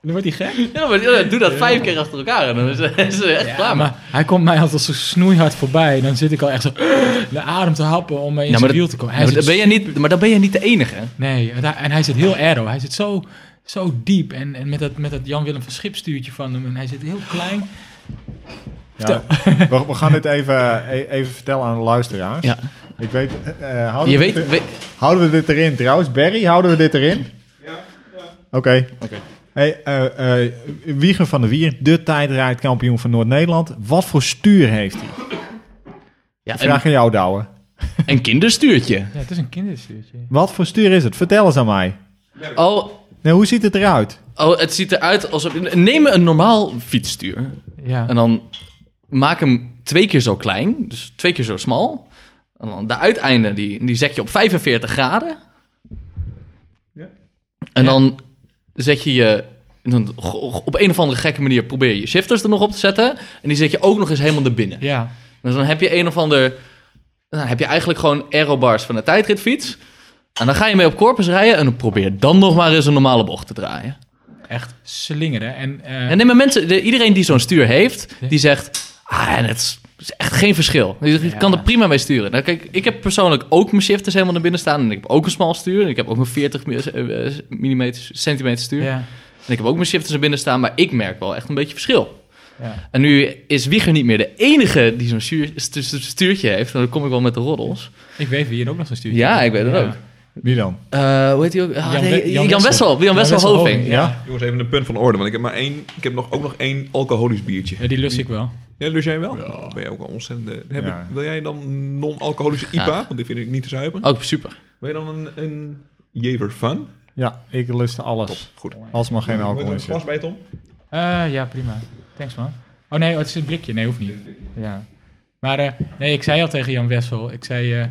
B: Dan wordt hij gek.
D: Ja, maar ja, doe dat vijf keer achter elkaar. En dan is is hij echt klaar. Maar.
B: Maar hij komt mij altijd zo snoeihard voorbij. Dan zit ik al echt zo de adem te happen om in
D: Ja,
B: zijn
D: maar,
B: wiel
D: dat,
B: te komen.
D: ja,
B: Hij
D: maar,
B: zit
D: dan ben je niet, maar dan ben je niet de enige. hè?
B: Nee, en hij- en hij zit heel aero. Hij zit zo, zo diep. En, en met dat, met dat Jan-Willem van Schip stuurtje van hem. En hij zit heel klein.
A: Ja. we, we gaan dit even, e- even vertellen aan de luisteraars.
D: Ja.
A: Ik weet, eh, eh, houden,
D: Je
A: we
D: weet,
A: dit-
D: weet-
A: houden we dit erin trouwens? Barry, houden we dit erin? Oké. Hey, eh, eh, Wieger van der Wier, de tijdrijdkampioen van Noord-Nederland. Wat voor stuur heeft hij?
D: ja, een,
A: Vraag aan jou, Douwe.
D: een kinderstuurtje.
B: Ja, het is een kinderstuurtje.
A: Wat voor stuur is het? Vertel eens aan mij.
D: Oh,
A: Nou, hoe ziet het eruit?
D: oh, het ziet eruit alsof... Neem een normaal fietsstuur.
B: Ja.
D: En dan maak hem twee keer zo klein, dus twee keer zo smal. En dan de uiteinden, die, die zet je op 45 graden.
C: Ja.
D: En dan zet je je... Dan, go- go- op een of andere gekke manier probeer je je shifters er nog op te zetten. En die zet je ook nog eens helemaal erbinnen.
B: Ja.
D: Dus dan heb je een of ander... Dan heb je eigenlijk gewoon aerobars van een tijdritfiets. En dan ga je mee op corpus rijden en dan probeer dan nog maar eens een normale bocht te draaien.
B: Echt slingeren. En, eh,
D: En nee, maar mensen, de- iedereen die zo'n stuur heeft,
B: Ja.
D: die zegt, ah, en het is- is echt geen verschil. Je je
B: Ja.
D: kan er prima mee sturen. Nou, kijk, ik heb persoonlijk ook mijn shifters helemaal naar binnen staan en ik heb ook een smal stuur. En ik heb ook een 40 mm centimeter stuur.
B: ja.
D: En ik heb ook mijn shifters naar binnen staan, maar ik merk wel echt een beetje verschil.
B: Ja.
D: En nu is Wieger niet meer de enige die zo'n stuur- stu- stu- stuurtje heeft. En dan kom ik wel met de roddels.
B: Ik weet wie hier ook nog zo'n stuurtje
D: Ja,
B: heeft.
D: ik weet het
B: Ja.
D: ook.
A: Wie dan?
D: Eh, hoe heet die ook? Ah,
B: Jan
D: nee,
B: We- Jan
D: Jan, Wessel. Jan Wessel Hoving.
B: Ja. Ja.
C: Jongens, even een punt van orde, want ik heb maar één... Ik heb nog, ook nog één alcoholisch biertje.
B: die lust ik wel.
C: Ja, lust jij wel? Oh, ben je ook een ontzettende... Heb
A: Ja.
C: ik- wil jij dan non-alcoholische
D: Ja.
C: IPA? Want die vind ik niet te zuipen.
D: Ook super.
C: Wil je dan een, een Jever van?
A: Ja, ik lust alles.
C: Goed.
A: Als maar geen
C: Wil je
A: alcohol in
C: er een
A: zit.
C: glas bij, Tom?
B: Eh, ja, prima. Thanks, man. Oh nee, oh, het is een blikje. Nee, hoeft niet. Ja. Maar eh, nee, ik zei al tegen Jan Wessel. Ik zei, eh,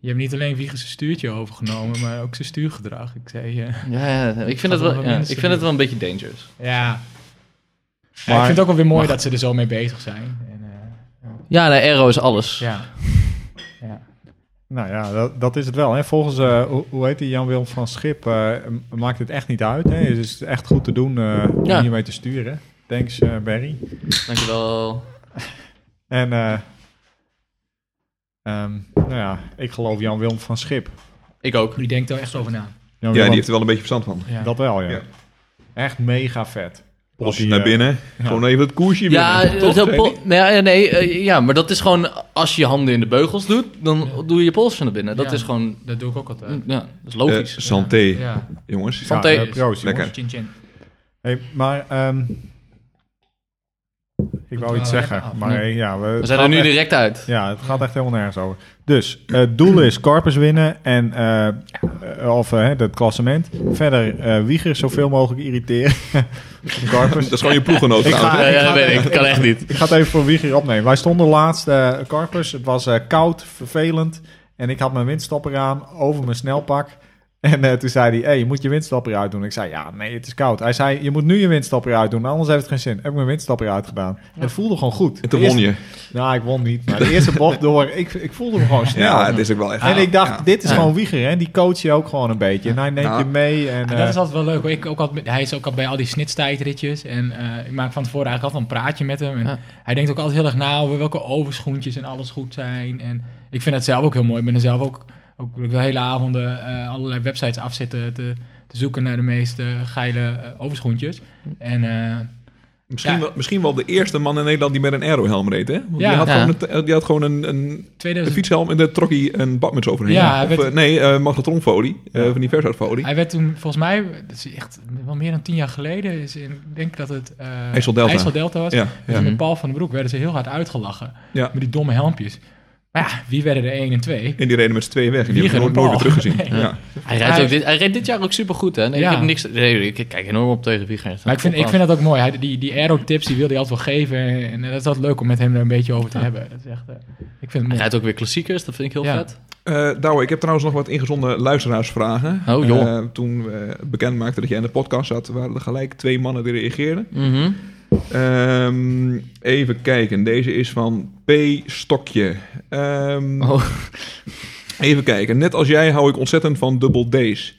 B: je hebt niet alleen Wiegers zijn stuurtje overgenomen, maar ook zijn stuurgedrag. Ik zei, eh,
D: Ja, ja, ja. ik, vind
B: Gaat
D: het wel,
B: wel
D: ja, ik
B: mensen
D: vind het wel een beetje dangerous.
B: ja. Ja, ik
A: Maar-
B: vind het ook wel weer mooi dat ze er zo mee bezig zijn. En, eh,
D: Ja, nee, aero is alles.
B: ja. ja.
A: Nou ja, dat, dat is het wel. Hè. Volgens, eh, hoe, hoe heet die, Jan-Willem van Schip, eh, m- maakt het echt niet uit. Hè. Het is echt goed te doen eh, om
D: Ja.
A: hiermee te sturen. Thanks, eh, Barry.
D: Dankjewel.
A: En eh, ehm, nou ja, ik geloof Jan-Willem van Schip.
D: Ik ook.
B: Die denkt daar echt zo over na.
A: Jan
C: Ja,
A: Willem-
C: die heeft er wel een beetje verstand van.
B: Ja.
A: Dat wel, ja.
C: Ja.
A: Echt mega vet. Als
C: Polsje
A: die,
C: naar
A: eh,
C: binnen. Gewoon even het koersje
D: Ja,
C: winnen. Toch,
D: zo
C: zei
D: pol-
C: hij?
D: nee, ja, nee, eh, ja, maar dat is gewoon als je je handen in de beugels doet, dan doe je je polsje naar binnen. Dat
B: Ja.
D: is gewoon,
B: Dat doe ik ook altijd.
D: mm, ja, dat is
C: Eh,
D: logisch.
C: santé,
B: Ja.
C: jongens.
A: Ja,
D: Santé.
A: eh, proost,
C: Lekker.
A: jongens.
B: Chin chin.
A: Hey, maar ehm, ik
B: wel
A: wou iets
B: lekker
A: zeggen.
B: af.
A: Maar hey, ja, we,
D: Eh, We
A: het
D: zijn er
A: gaat
D: nu
A: echt-
D: direct uit.
A: Ja, het gaat echt helemaal nergens over. Dus, eh, het doel is Corpus winnen en eh, eh, of eh, het klassement. Verder eh Wieger zoveel mogelijk irriteren. Corpus.
C: Dat is gewoon je ploeggenoot
A: Ik
C: trouwens.
A: ga-
D: Ja, ja, dat
A: ga-
D: weet ik. Dat kan echt niet.
A: Ik ga het even voor Wieger opnemen. Wij stonden laatst, eh Carpus. Het was eh, koud, vervelend. En ik had mijn windstopper aan over mijn snelpak. En eh, toen zei hij, hey, je moet je windstopper uitdoen. Ik zei, ja, nee, het is koud. Hij zei, je moet nu je windstopper uitdoen, anders heeft het geen zin. Heb ik mijn windstopper uitgedaan. En het voelde gewoon goed.
C: En toen
A: De
C: won
A: eerste-
C: je.
A: Nou, ik won niet. Maar de eerste bocht door, ik, ik voelde me gewoon snel.
C: Ja, het is ook wel echt...
A: en ik dacht,
C: ja.
A: dit is
D: Ja.
A: gewoon Wieger, hè. Die coach je ook gewoon een beetje. En hij neemt
C: Ja.
A: je mee. En,
B: En dat
A: eh,
B: is altijd wel leuk. hoor. Ik ook al, hij is ook al bij al die snitstijdritjes. En eh, ik maak van tevoren eigenlijk altijd een praatje met hem. En
D: Ja.
B: Hij denkt ook altijd heel erg na over welke overschoentjes en alles goed zijn. En ik vind dat zelf ook heel mooi. Ik ben er zelf ook, ook de hele avonden eh, allerlei websites afzitten te, te zoeken naar de meest eh, geile eh, overschoentjes. En eh,
C: Misschien,
B: Ja.
C: wel, misschien wel de eerste man in Nederland die met een aerohelm reed, hè? Want
B: Ja.
C: die, had
D: Ja.
C: gewoon een, eh, die had gewoon een, een,
B: 2000
C: een fietshelm en daar trok hij een badmuts overheen.
B: Ja, hij
C: of,
B: werd-
C: eh, nee, eh, magnetronfolie, eh, van die vershoutfolie.
B: Hij werd toen, volgens mij, dat is echt wel meer dan tien jaar geleden, is in, ik denk dat het eh
C: IJsseldelta.
B: IJsseldelta was.
C: Ja,
B: Dus
C: ja.
B: met Paul van den Broek werden ze heel hard uitgelachen.
C: Ja.
B: Met die domme helmpjes. Maar ja, wie werden er één en twee?
C: En die reden met z'n tweeën weg. En die
B: Wieger
C: hebben we
B: en
C: nooit, nooit
B: Paul.
C: meer
B: Nee.
C: teruggezien. Ja.
D: Hij rijdt,
B: Hij-
D: ook dit, hij rijdt dit jaar ook supergoed, hè? Nee,
B: Ja.
D: ik, heb niks, nee, ik kijk enorm op tegen Wieger.
B: Maar ik vind, ik vind dat ook mooi. Hij, die, die aero-tips, die wilde hij altijd wel geven. En eh, dat is altijd leuk om met hem daar een beetje over te hebben. Dat is echt, eh, ik vind het
D: Hij
B: mooi.
D: rijdt ook weer klassiekers, dat vind ik heel
B: Ja.
D: vet.
C: Eh Douwe, ik heb trouwens nog wat ingezonden luisteraarsvragen.
D: Oh, joh.
C: Eh, toen we bekend maakten dat jij in de podcast zat, waren er gelijk twee mannen die reageerden.
D: Mhm.
C: Ehm, even kijken, deze is van P. Stokje. Ehm,
D: Oh.
C: Even kijken, net als jij hou ik ontzettend van Double D's.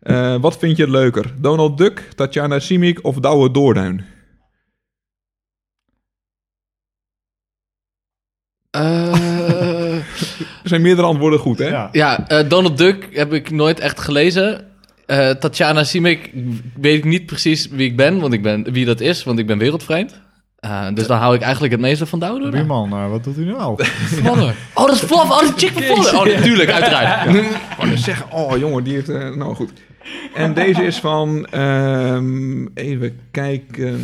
C: Eh, wat vind je leuker, Donald Duck, Tatjana Simic of Douwe Doorduin?
D: Eh,
C: Er zijn meerdere antwoorden goed, hè?
A: ja.
D: ja, eh, Donald Duck heb ik nooit echt gelezen. Eh Tatjana Simic weet ik niet precies wie ik ben, want ik ben wie dat is, want ik ben wereldvreemd. Eh, dus daar hou ik eigenlijk het meeste van Douwe. Doorn.
A: Buurman, eh, wat doet u nou?
B: Vladder.
D: Oh, dat is Flav. Oh, dat is Chick van Vladder. Oh, natuurlijk, uiteraard.
C: Ik wou net zeggen, oh jongen, die heeft... eh, nou goed. En deze is van, ehm, even kijken,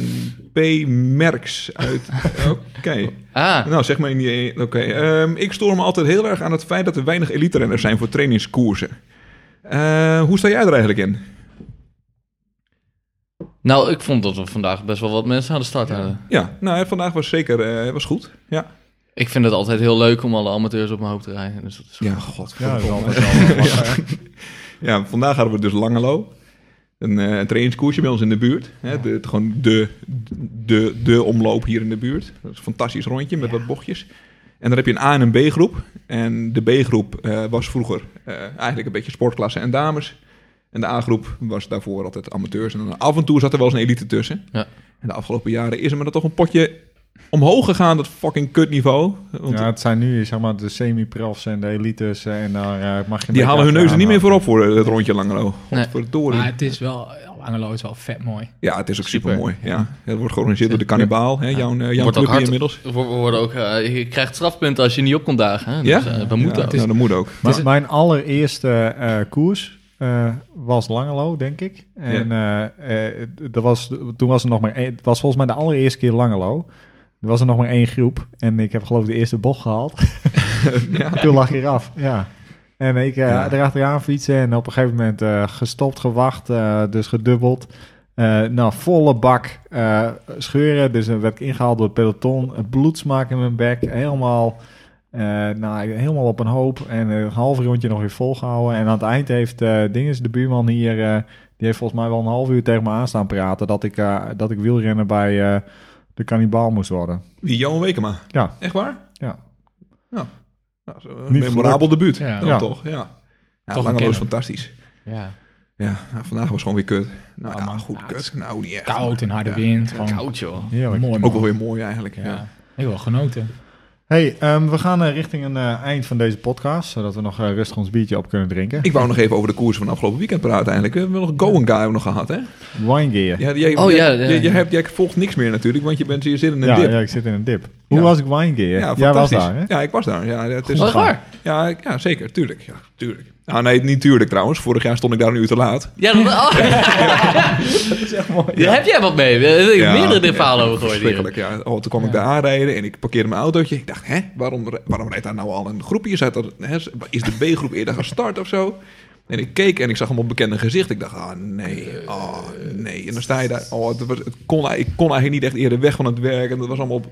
C: P. Merks uit... Oké.
D: Ah,
C: Nou, zeg maar in die... Oké. Ehm, ik stoor me altijd heel erg aan het feit dat er weinig elite renners zijn voor trainingskoersen. Eh, hoe sta jij er eigenlijk in?
D: nou, ik vond dat we vandaag best wel wat mensen aan de start hadden.
C: Ja, nou, hè, vandaag was zeker eh, was goed. Ja.
D: Ik vind het altijd heel leuk om alle amateurs op mijn hoofd te rijden. Dus dat is goed.
C: god.
A: Ja, dat is altijd wel wat, hè.
C: Ja, vandaag hadden we dus Langelo. Een eh, trainingskoersje bij ons in de buurt. Hè, de, het- gewoon de, de, de omloop hier in de buurt. Dat is een fantastisch rondje met wat bochtjes. En dan heb je een A- en een B-groep. En de B-groep eh, was vroeger eh, eigenlijk een beetje sportklasse en dames. En de A-groep was daarvoor altijd amateurs. En dan af en toe zat er wel eens een elite tussen.
D: Ja.
C: En de afgelopen jaren is er maar dan toch een potje omhoog gegaan, dat fucking kutniveau. Want
A: ja, het zijn nu zeg maar de semi-profs en de elites eh, en daar eh, mag je... een
C: die
A: beetje
C: halen hun neuzen
A: achteraan
C: niet meer
A: hangen.
C: voorop voor eh, het rondje Langelo.
D: Nee.
C: Godverdorie.
B: Maar het is wel, Angelo is wel vet mooi.
C: Ja, het is ook
D: Super.
C: super mooi. Ja. Het wordt georganiseerd door de Cannibaal, hè, jouw, eh, jouw
D: Wordt ook
C: clubje
D: hard.
C: inmiddels.
D: We we worden ook, eh, je krijgt strafpunten als je niet op komt dagen. Hè? Dus,
C: Ja?
D: eh, we moeten
C: ja,
D: ook.
C: nou, dat moet ook.
A: Maar mijn allereerste eh, koers eh, was Langelo, denk ik. En eh, eh, dat was, toen was er nog maar één... Het was volgens mij de allereerste keer Langelo. Er was er nog maar één groep. En ik heb geloof ik de eerste bocht gehaald.
C: ja.
A: toen lag ik eraf, ja. En ik eh
C: Ja.
A: erachteraan fietsen en op een gegeven moment eh, gestopt, gewacht, eh, dus gedubbeld. Eh nou, volle bak eh, scheuren. Dus dan werd ik ingehaald door het peloton. Eh, Bloedsmaak in mijn bek. Helemaal, eh, nou, helemaal op een hoop. En een half rondje nog weer volgehouden. En aan het eind heeft eh Dinges, de buurman hier... eh, die heeft volgens mij wel een half uur tegen me aan staan praten... dat ik, eh, dat ik wielrenner bij eh, de kannibaal moest worden.
C: Wie, Johan Wekema?
A: Ja.
C: Echt waar?
A: Ja.
C: Ja. Nou, zo een
A: Niet
C: memorabel debuut.
B: Ja.
C: Dan
A: Ja.
C: toch, ja. ja
B: Toch een
C: Langelo is
B: kenner.
C: fantastisch.
D: Ja.
C: Ja, nou, vandaag was gewoon weer kut. Nou
B: Ah,
C: ja,
B: man.
C: goed,
B: Ja, het
C: kut. Nou, niet echt.
B: Koud en harde
C: Ja.
B: wind. Gewoon
D: Koud, joh.
A: Heerlijk.
B: Mooi,
C: Ook
B: man.
C: wel weer mooi eigenlijk. Ja. Ah,
B: Ja. Ik heb wel genoten.
A: Hey, ehm, we gaan eh, richting een eh, eind van deze podcast, zodat we nog eh, rustig ons biertje op kunnen drinken.
C: Ik wou nog even over de koers van afgelopen weekend praten eigenlijk. We hebben nog Go and Guy hebben we nog gehad, hè?
A: Winegear.
C: Ja, jij,
D: Oh,
C: jij-
D: ja, ja,
C: jij- jij
D: ja.
C: hebt, jij volgt niks meer natuurlijk, want je, bent, je zit in een
A: Ja,
C: dip.
A: ja, ik zit in een dip. Hoe
C: Ja.
A: was ik Winegear? Ja, Jij was
C: fantastisch.
A: daar, hè?
C: Ja, ik was daar. Ja, het is,
D: Was Oh, waar?
C: ja, ik- ja zeker. Tuurlijk. Ja, tuurlijk. Nou, nee, niet tuurlijk trouwens. Vorig jaar stond ik daar een uur te laat.
D: Ja, dat, oh, Daar heb jij wat mee. Daar heb ik
C: Ja,
D: meerdere
C: ja,
D: verhalen over gehoord hier.
C: Verschrikkelijk, ja. Oh, toen kwam ik daar aanrijden en ik parkeerde mijn autootje. Ik dacht, hè, waarom, waarom rijdt daar nou al een groepje? Is, dat, hè, is de B-groep eerder gestart of zo? En ik keek en ik zag hem op bekende gezicht. Ik dacht, ah nee, oh nee. En dan sta je daar. Oh, het was, het kon, ik kon eigenlijk niet echt eerder weg van het werk. En dat was allemaal op,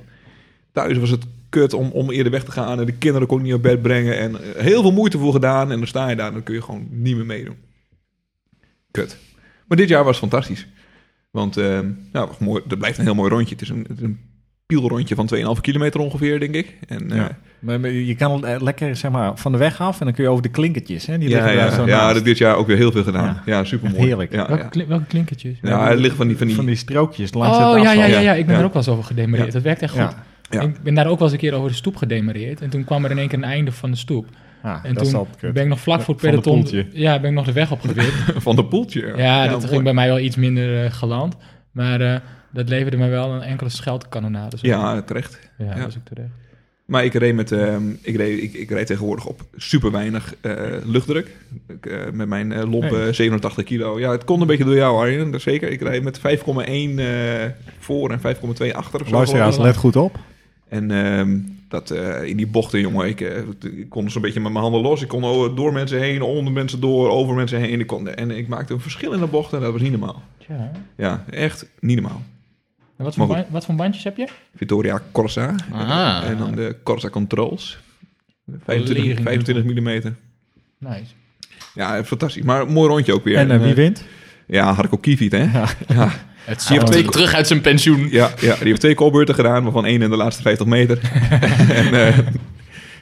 C: thuis was het kut om, om eerder weg te gaan. En de kinderen kon ik niet op bed brengen. En eh, heel veel moeite voor gedaan. En dan sta je daar en dan kun je gewoon niet meer meedoen. Kut. Maar dit jaar was het fantastisch. Want eh, ja, was mooi, dat blijft een heel mooi rondje. Het is een, het is een pielrondje van 2,5 kilometer ongeveer, denk ik. En, eh,
A: Ja. Maar maar je kan het, eh, lekker zeg maar, van de weg af en dan kun je over de klinkertjes. Hè? Die
C: ja,
A: liggen
C: ja,
A: daar zo
C: ja,
A: naast.
C: dat dit jaar ook weer heel veel gedaan. Ja,
A: Ja.
C: super
A: Echt
C: mooi.
A: heerlijk.
C: Ja,
B: welke,
C: ja.
B: kli- welke klinkertjes?
C: Ja, er liggen van die, van die,
A: van die strookjes langs
B: Oh
A: het
B: ja, ja,
A: asfalt.
B: ja, ja, ik ben
C: Ja.
B: er ook wel eens over gedemareerd.
C: Ja.
B: Dat werkt echt goed.
A: Ja.
C: Ja.
B: Ik ben daar ook wel eens een keer over de stoep gedemareerd. En toen kwam er in één keer een einde van de stoep.
A: Ah,
B: En
A: dat is
B: toen
A: altijd kut.
B: ben ik nog vlak voor het
A: Van de
B: peloton.
A: poeltje.
B: Ja, ben ik nog de weg opgewipt.
C: van de poeltje.
B: ja, dat
C: mooi.
B: ging bij mij wel iets minder eh, galant. Maar eh, dat leverde mij wel een enkele scheldkanonade. zo.
C: Ja, terecht.
B: ja,
C: ja.
B: dat is ook terecht.
C: Maar ik reed, met, ehm, ik, reed, ik, ik reed tegenwoordig op super weinig eh, luchtdruk. Ik, eh, met mijn eh, lompe
A: Nee.
C: 87 kilo. Ja, het kon een beetje door jou, Arjen. Dat zeker. Ik rijd met 5,1 eh, voor en 5,2 achter of zo.
A: Luisteraars, let goed op.
C: En ehm, dat, eh, in die bochten, jongen, ik, eh, ik kon zo'n beetje met mijn handen los. Ik kon o- door mensen heen, onder mensen door, over mensen heen. Ik kon, en ik maakte een verschil in de bochten. Dat was niet normaal.
B: Tja. En
C: Ja, echt niet normaal.
B: wat, voor
C: Maar goed.
B: ban- wat voor bandjes heb je?
C: Vittoria Corsa.
D: Ah.
C: En dan de Corsa Controls.
B: Lering.
C: 25, 25 mm.
B: Nice.
C: Ja, fantastisch. Maar een mooi rondje ook weer.
A: en eh, wie wint?
C: Ja, Harko Kiviet, hè? Ja. Ja,
D: Het
C: Je hebt
D: komt
C: twee-
D: terug uit zijn pensioen.
C: ja, die heeft twee kopbeurten gedaan, waarvan één in de laatste 50 meter. en, eh, ja, nee, dat
A: Toch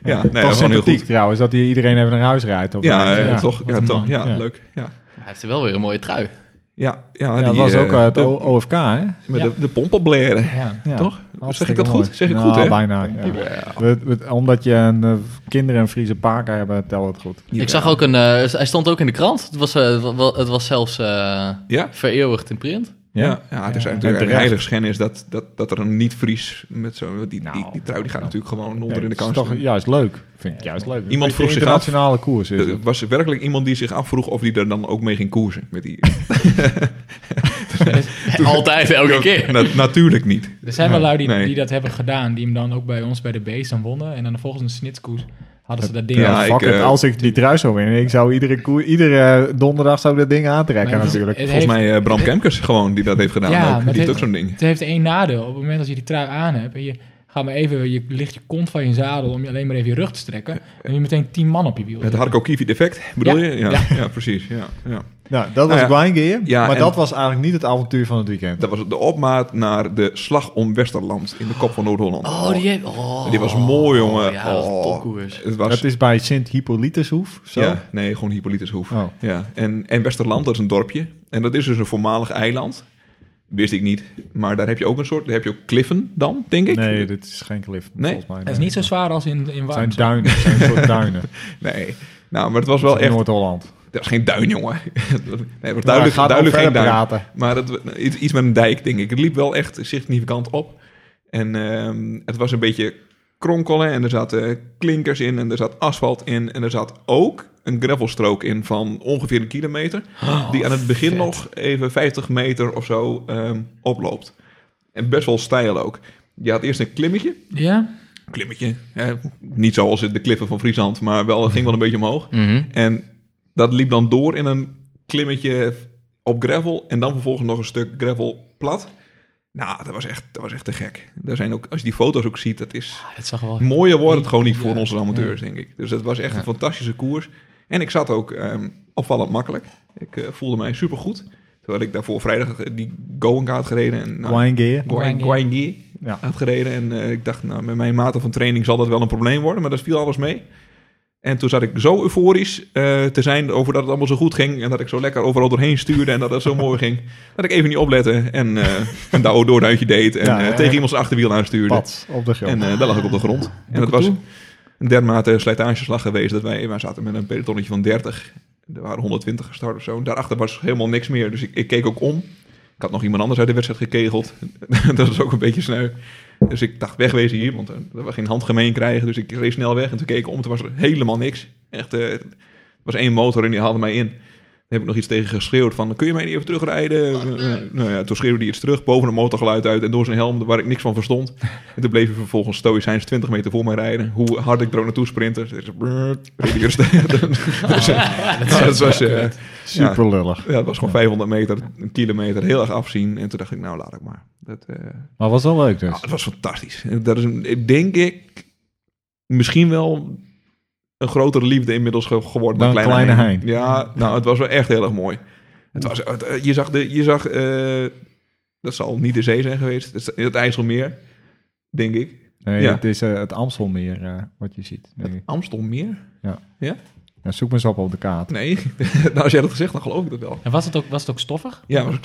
C: was gewoon heel
A: sympathiek
C: goed.
A: trouwens, dat die iedereen even naar huis rijdt. Op
C: Ja,
A: eh,
C: eh, toch.
B: wat
C: Ja,
B: een
C: toch,
B: man.
C: ja,
A: Ja.
C: leuk. Ja,
D: Hij heeft wel weer een mooie trui.
C: ja, ja,
A: Ja,
C: die,
A: dat was
C: eh,
A: ook eh, het
C: de,
A: O- OFK, hè?
C: met
B: Ja.
C: de, de pompen blaren.
B: Ja.
A: Ja.
C: Toch? Zeg ik
A: Hartstikke
C: dat goed?
A: mooi.
C: Zeg ik
A: Nou,
C: goed, hè?
A: bijna. ja.
C: Ja.
A: We- we- omdat je een, eh, kinderen een Friese paken hebben, tel het goed.
C: Ja.
D: Ik zag ook een... eh, hij stond ook in de krant. Het was, eh, wa- wa- het was zelfs eh,
C: Ja?
D: vereeuwigd in print.
C: Ja, ja, het is
B: Ja.
A: En
C: natuurlijk
A: terecht.
C: een heilig schennis dat, dat, dat er een niet-Fries met zo... Die, die,
A: Nou,
C: die trui die gaat
A: nou.
C: natuurlijk gewoon onder
A: Ja,
C: in de
A: het
C: kans.
A: Is toch juist leuk. Vind ik juist leuk.
C: Iemand
A: Een
C: vroeg zich af- Eh,
A: internationale koers is
C: Er
A: het.
C: was werkelijk iemand die zich afvroeg of die er dan ook mee ging koersen. Met die,
D: Altijd, elke keer.
C: Na- natuurlijk niet.
B: Er zijn wel lui die,
C: Nee.
B: die dat hebben gedaan. Die hem dan ook bij ons bij de B's dan wonnen. En dan volgens een snitskoers hadden ze dat ding.
C: Ja,
A: Ja, fuck
C: ik,
A: it.
C: eh,
A: Als ik die trui zou winnen, ik zou iedere, koer, iedere eh, donderdag zou ik dat ding aantrekken
B: Maar het-
A: natuurlijk.
B: het
C: Volgens
B: heeft-
C: mij nou, eh, Bram Kemkers gewoon die dat heeft gedaan.
B: Ja,
C: ook.
B: maar
C: Die
B: het
C: heeft ook
B: heeft-
C: zo'n ding.
B: Het heeft één nadeel. Op het moment dat je die trui aan hebt en je gaat maar even, je ligt je kont van je zadel om je alleen maar even je rug te strekken, dan heb je meteen tien man op je wiel.
C: Het Harko Kivi defect, bedoel
B: Ja,
C: je? Ja, ja.
B: ja.
C: precies. Ja, ja.
A: Nou, dat was
C: Nou
A: Wine Gear,
C: Ja,
A: maar
C: en-
A: dat was eigenlijk niet het avontuur van het weekend.
C: Dat was de opmaat naar de slag om Westerland in de kop van Noord-Holland.
D: Oh, die heeft... Oh.
C: Die was mooi, jongen.
D: Ja, dat was een
C: Oh.
D: topkoers.
C: Het was...
A: Dat is bij Sint Hippolytushoef, zo?
C: Ja, nee, gewoon Hippolytushoef.
A: Oh.
C: Ja. En, en Westerland, dat is een dorpje. En dat is dus een voormalig eiland. Wist ik niet. Maar daar heb je ook een soort... Daar heb je ook kliffen dan, denk ik.
A: Nee, dit is geen cliff,
C: Nee.
A: volgens mij.
B: Het is niet zo zwaar als in, in
A: Het zijn
B: Warms.
A: duinen, het zijn een soort duinen.
C: Nee. Nou, maar het was wel
A: Wel in
C: echt...
A: Noord-Holland.
C: Dat is geen duin, jongen. nee, maar
A: Nou,
C: duidelijk,
A: gaat
C: duidelijk
A: over
C: geen duin.
A: praten.
C: Maar dat, iets iets met een dijk, denk ik. Het liep wel echt significant op. En ehm, het was een beetje kronkelen en er zaten klinkers in en er zat asfalt in. En er zat ook een gravelstrook in van ongeveer een kilometer. die aan het begin nog even 50 meter of zo ehm, oploopt. En best wel steil ook. Je had eerst een klimmetje.
B: Ja?
C: Klimmetje, hè, niet zoals de kliffen van Friesland, maar wel, het ging wel een beetje omhoog.
D: Mhm.
C: En dat liep dan door in een klimmetje op gravel. En dan vervolgens nog een stuk gravel plat. Nou, dat was echt, dat was echt te gek. Daar zijn ook, als je die foto's ook ziet, dat is...
B: Ah, dat zag er wel.
C: Mooier wordt het gewoon niet voor onze amateurs, denk ik. Dus dat was echt een fantastische koers. En ik zat ook ehm, opvallend makkelijk. Ik eh, voelde mij supergoed. Terwijl ik daarvoor vrijdag eh, die going had gereden. En, nou,
A: Wine Gear.
C: Guangi.
A: Ja.
C: had gereden. En eh, ik dacht, nou, met mijn mate van training zal dat wel een probleem worden. Maar dat viel alles mee. En toen zat ik zo euforisch eh, te zijn over dat het allemaal zo goed ging. En dat ik zo lekker overal doorheen stuurde en dat het zo mooi ging. Dat ik even niet oplette en eh een douwe doorduitje deed. En
A: Ja,
C: eh,
A: ja,
C: tegen
A: ja.
C: iemands achterwiel aanstuurde.
A: Pats op de grond.
C: En eh daar lag ik op de grond. En dat was een dermate slijtageslag geweest dat wij, wij zaten met een pelotonnetje van 30. Er waren 120 gestart of zo. En Daarachter was helemaal niks meer. Dus ik, ik keek ook om. Ik had nog iemand anders uit de wedstrijd gekegeld. dat was ook een beetje sneu. Dus ik dacht wegwezen hier, want eh, we geen handgemeen krijgen. Dus ik reed snel weg en toen keek ik om. Toen was er helemaal niks. Echt, eh, er was één motor en die haalde mij in. Daar heb ik nog iets tegen geschreeuwd van, kun je mij niet even terugrijden? Eh, nou ja, toen schreeuwde hij iets terug, boven een motorgeluid uit en door zijn helm, waar ik niks van verstond. En toen bleef hij vervolgens stoïcijns 20 meter voor mij rijden. Hoe hard ik er ook naartoe sprintte. Dus, brrr, reed hij rustig. Dus, eh, ja, dat was, eh,
A: Super lullig.
C: ja, dat was gewoon 500 meter, een kilometer, heel erg afzien. En toen dacht ik, nou laat ik maar. Dat, eh,
A: Maar was wel leuk
C: ja,
A: dus.
C: dat was fantastisch. En Dat is, een- ik denk ik, misschien wel een grotere liefde inmiddels ge- geworden
A: Dan Kleine Hein.
C: Ja, nou, het was wel echt heel erg mooi. Het was, het- je zag, de, je zag eh, dat zal niet de zee zijn geweest, het, het IJsselmeer, denk ik.
A: Nee,
C: Ja.
A: Het is eh, het Amstelmeer eh, wat je ziet. denk ik.
C: Amstelmeer?
A: Ja, zoek me eens op op de kaart.
C: Nee, nou, als jij dat gezegd, dan geloof ik dat wel.
B: En was het ook, was het ook stoffig?
C: Ja, was ik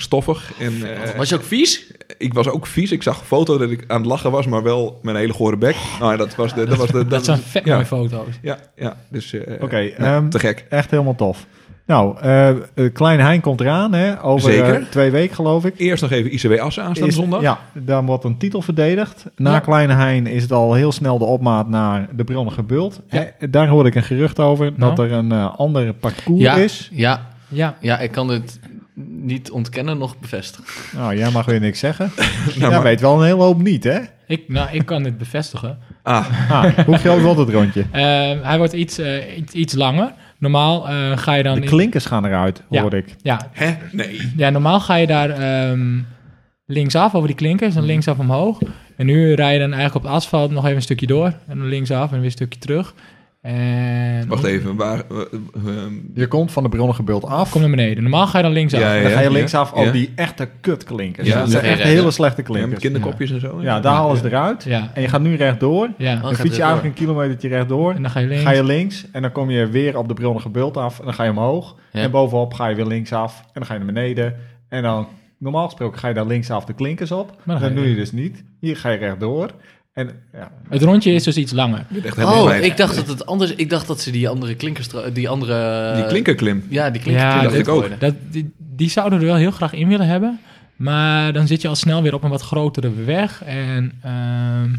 C: stoffig en eh,
D: Was je ook vies?
C: ik was ook vies. Ik zag een foto dat ik aan het lachen was, maar wel met een hele gore bek.
A: Oh.
C: Nou ja, dat was de... Dat, was de,
B: Dat zijn vet
C: ja.
B: mooie foto's.
C: Ja, ja, dus... eh,
A: Oké,
C: ja,
A: ehm,
C: te gek.
A: echt helemaal tof. Nou, eh eh, Klein Hein komt eraan, hè? Over eh,
C: Zeker.
A: twee weken geloof ik.
C: Eerst nog even ICW Assen aanstaande
A: Is-
C: zondag.
A: Ja, dan wordt een titel verdedigd. Na
B: Ja.
A: Kleine Hein is het al heel snel de opmaat naar de Bronnige Bult.
B: Ja.
A: Eh, Daar hoorde ik een gerucht over dat
B: Nou.
A: er een eh ander parcours
D: Ja,
A: is.
D: ja,
B: Ja.
D: ja, ik kan het niet ontkennen, nog bevestigen.
A: Nou, jij mag weer niks zeggen. jij
C: Nou, maar-
A: weet wel een hele hoop niet, hè?
B: Ik, nou, ik kan dit bevestigen.
C: Ah,
A: Ah, hoe groot wordt het rondje?
B: Eh, hij wordt iets, eh, iets, iets langer. Normaal eh, ga je dan...
A: De
B: in-
A: klinkers gaan eruit,
B: Ja.
A: hoor ik.
B: ja,
C: hè? Nee.
B: ja, normaal ga je daar ehm, linksaf over die klinkers
C: Mhm.
B: en linksaf omhoog. En nu rij je dan eigenlijk op het asfalt nog even een stukje door. En dan linksaf en weer een stukje terug. En
C: Wacht even, waar... eh, eh, ehm,
A: Je komt van de Bronnige Bult af.
B: Kom naar beneden. Normaal ga je dan linksaf.
C: Ja, ja.
A: en dan ga je linksaf op
C: ja.
A: die echte kutklinkers.
C: Ja,
A: dat zijn
D: ja,
A: echt
D: ja,
A: hele
D: ja.
A: slechte
C: ja, met
A: klinkers.
C: kinderkopjes en zo.
A: Ja, daar halen ze eruit.
B: Ja.
A: En je gaat nu rechtdoor.
B: Ja.
D: Oh,
A: Dan
D: gaat
A: fiets je
D: rechtdoor.
A: eigenlijk een kilometertje rechtdoor.
B: En dan ga je links.
A: Ga je links en dan kom je weer op de bronnige bult af. En dan ga je omhoog.
D: Ja.
A: En bovenop ga je weer linksaf. En dan ga je naar beneden. En dan, normaal gesproken, ga je daar linksaf de klinkers op.
B: dan
A: Maar
B: ga
A: dat
B: je-
A: doe je dus niet. Hier ga je rechtdoor. En ja,
B: Het rondje is dus iets langer.
C: Ik ben echt helemaal
D: Oh,
C: kwijt.
D: ik dacht dat het anders... Ik dacht dat ze die andere klinkers... tra- Die andere...
C: Die klinkerklim.
D: Ja, die klinker.
B: Ja,
D: Ja,
B: dacht
C: ik ook.
B: Dat, die, die zouden we er wel heel graag in willen hebben. Maar dan zit je al snel weer op een wat grotere weg. En ehm,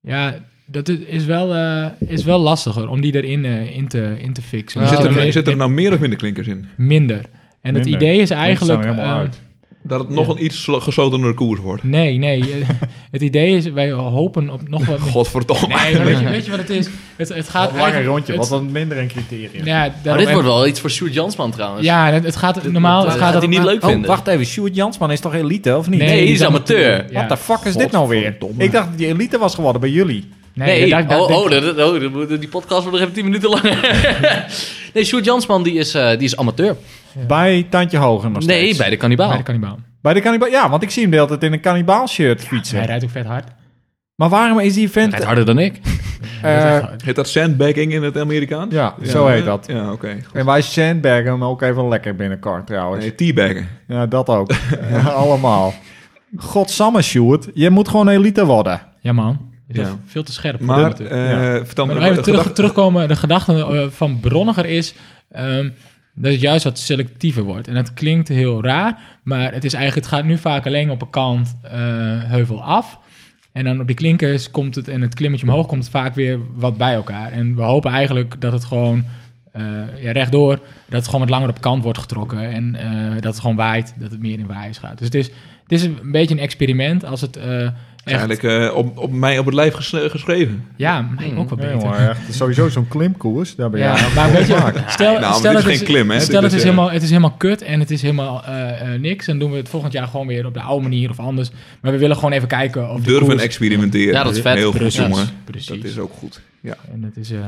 B: ja, dat is, is, wel, eh, is wel lastiger om die erin eh, in te, in te fixen.
D: Ja,
C: zit, er,
D: dat
B: Meer-
C: zit er nou meer of minder klinkers in?
B: Minder. En het
A: Minder.
B: idee is
A: klinkers
B: eigenlijk...
A: staan er helemaal
B: ehm,
A: uit.
C: Dat het nog
B: Ja.
C: een iets slo- geslotenere koers wordt.
B: Nee, nee. eh, het idee is, wij hopen op nog wat...
C: Godverdomme.
B: Nee, maar weet, je, weet je wat het is? Het, het gaat
A: Wat langer
B: eigenlijk-
A: rondje,
B: het-
A: wat dan minder een criterium.
B: ja,
D: Maar
B: daarom-
D: dit wordt wel iets voor Sjoerd Jansman trouwens.
B: Ja, het, het gaat normaal...
D: dat
B: het
D: gaat
B: gaat
D: hij niet leuk vinden.
A: Oh, even. Sjoerd Jansman is toch elite, of niet?
D: Nee, die is amateur.
B: Ja.
A: What the fuck is dit nou weer?
C: Godverdomme.
A: Ik dacht dat die elite was geworden bij jullie.
D: Nee,
B: daar- daar-
D: oh,
B: daar-
D: oh, dat- oh, dat moet- die podcast wordt nog even 10 minuten langer. nee, Sjoerd Jansman die is, eh, die is amateur.
A: Bij Tantje Hogen nog steeds.
D: Nee, bij de kannibaal.
B: bij de kannibaal.
A: Bij de kannibaal. Ja, want ik zie hem de hele tijd in een kannibaal shirt
B: Ja,
A: fietsen.
B: hij rijdt ook vet hard.
A: maar waarom is die vent...
D: Rijdt harder dan ik.
A: eh,
C: Heet dat sandbagging in het Amerikaans?
A: ja, zo heet dat.
C: Ja, oké. goed.
A: En wij sandbaggen hem ook even lekker binnenkort trouwens.
C: Nee, teabaggen.
A: Ja, dat ook. Ja, Allemaal. Godsamme, Sjoerd. Je moet gewoon elite worden.
B: Ja, man. Is
C: Ja.
B: dat veel te scherp. voor
C: Maar,
B: dit natuurlijk.
C: eh, vertel me...
B: maar nog even
C: de
B: terug,
C: gedachte-
B: terugkomen. De gedachte eh, van Bronniger is ehm, dat het juist wat selectiever wordt. En dat klinkt heel raar, maar het, is eigenlijk, het gaat nu vaak alleen op een kant eh, heuvel af. En dan op die klinkers komt het en het klimmetje omhoog komt het vaak weer wat bij elkaar. En we hopen eigenlijk dat het gewoon eh, ja, rechtdoor, dat het gewoon wat langer op kant wordt getrokken. En eh, dat het gewoon waait, dat het meer in waaiers gaat. Dus het is, het is een beetje een experiment als het eh, echt...
C: Eigenlijk eh, op, op mij op het lijf ges- geschreven.
B: Ja, mij ook wel
A: Ja,
B: beter.
A: jongen, echt. Sowieso zo'n klimkoers. Daar ben je
B: Ja,
A: eigenlijk
B: maar
A: voor
B: weet je,
A: gemaakt.
B: stel,
C: Nou, maar
B: stel
C: dit is
B: het
C: geen klim, hè? Dit
B: Stel
C: is,
B: het is,
C: eh,
B: helemaal, het is helemaal kut en het is helemaal eh, eh, niks. Dan doen we het volgend jaar gewoon weer op de oude manier of anders. Maar we willen gewoon even kijken of de
C: Durven
B: koers-
C: experimenteren.
D: Ja, dat is vet.
C: Heel goed,
B: Precies,
C: jongen.
B: precies.
C: Dat is ook goed. Ja.
B: En dat is... eh,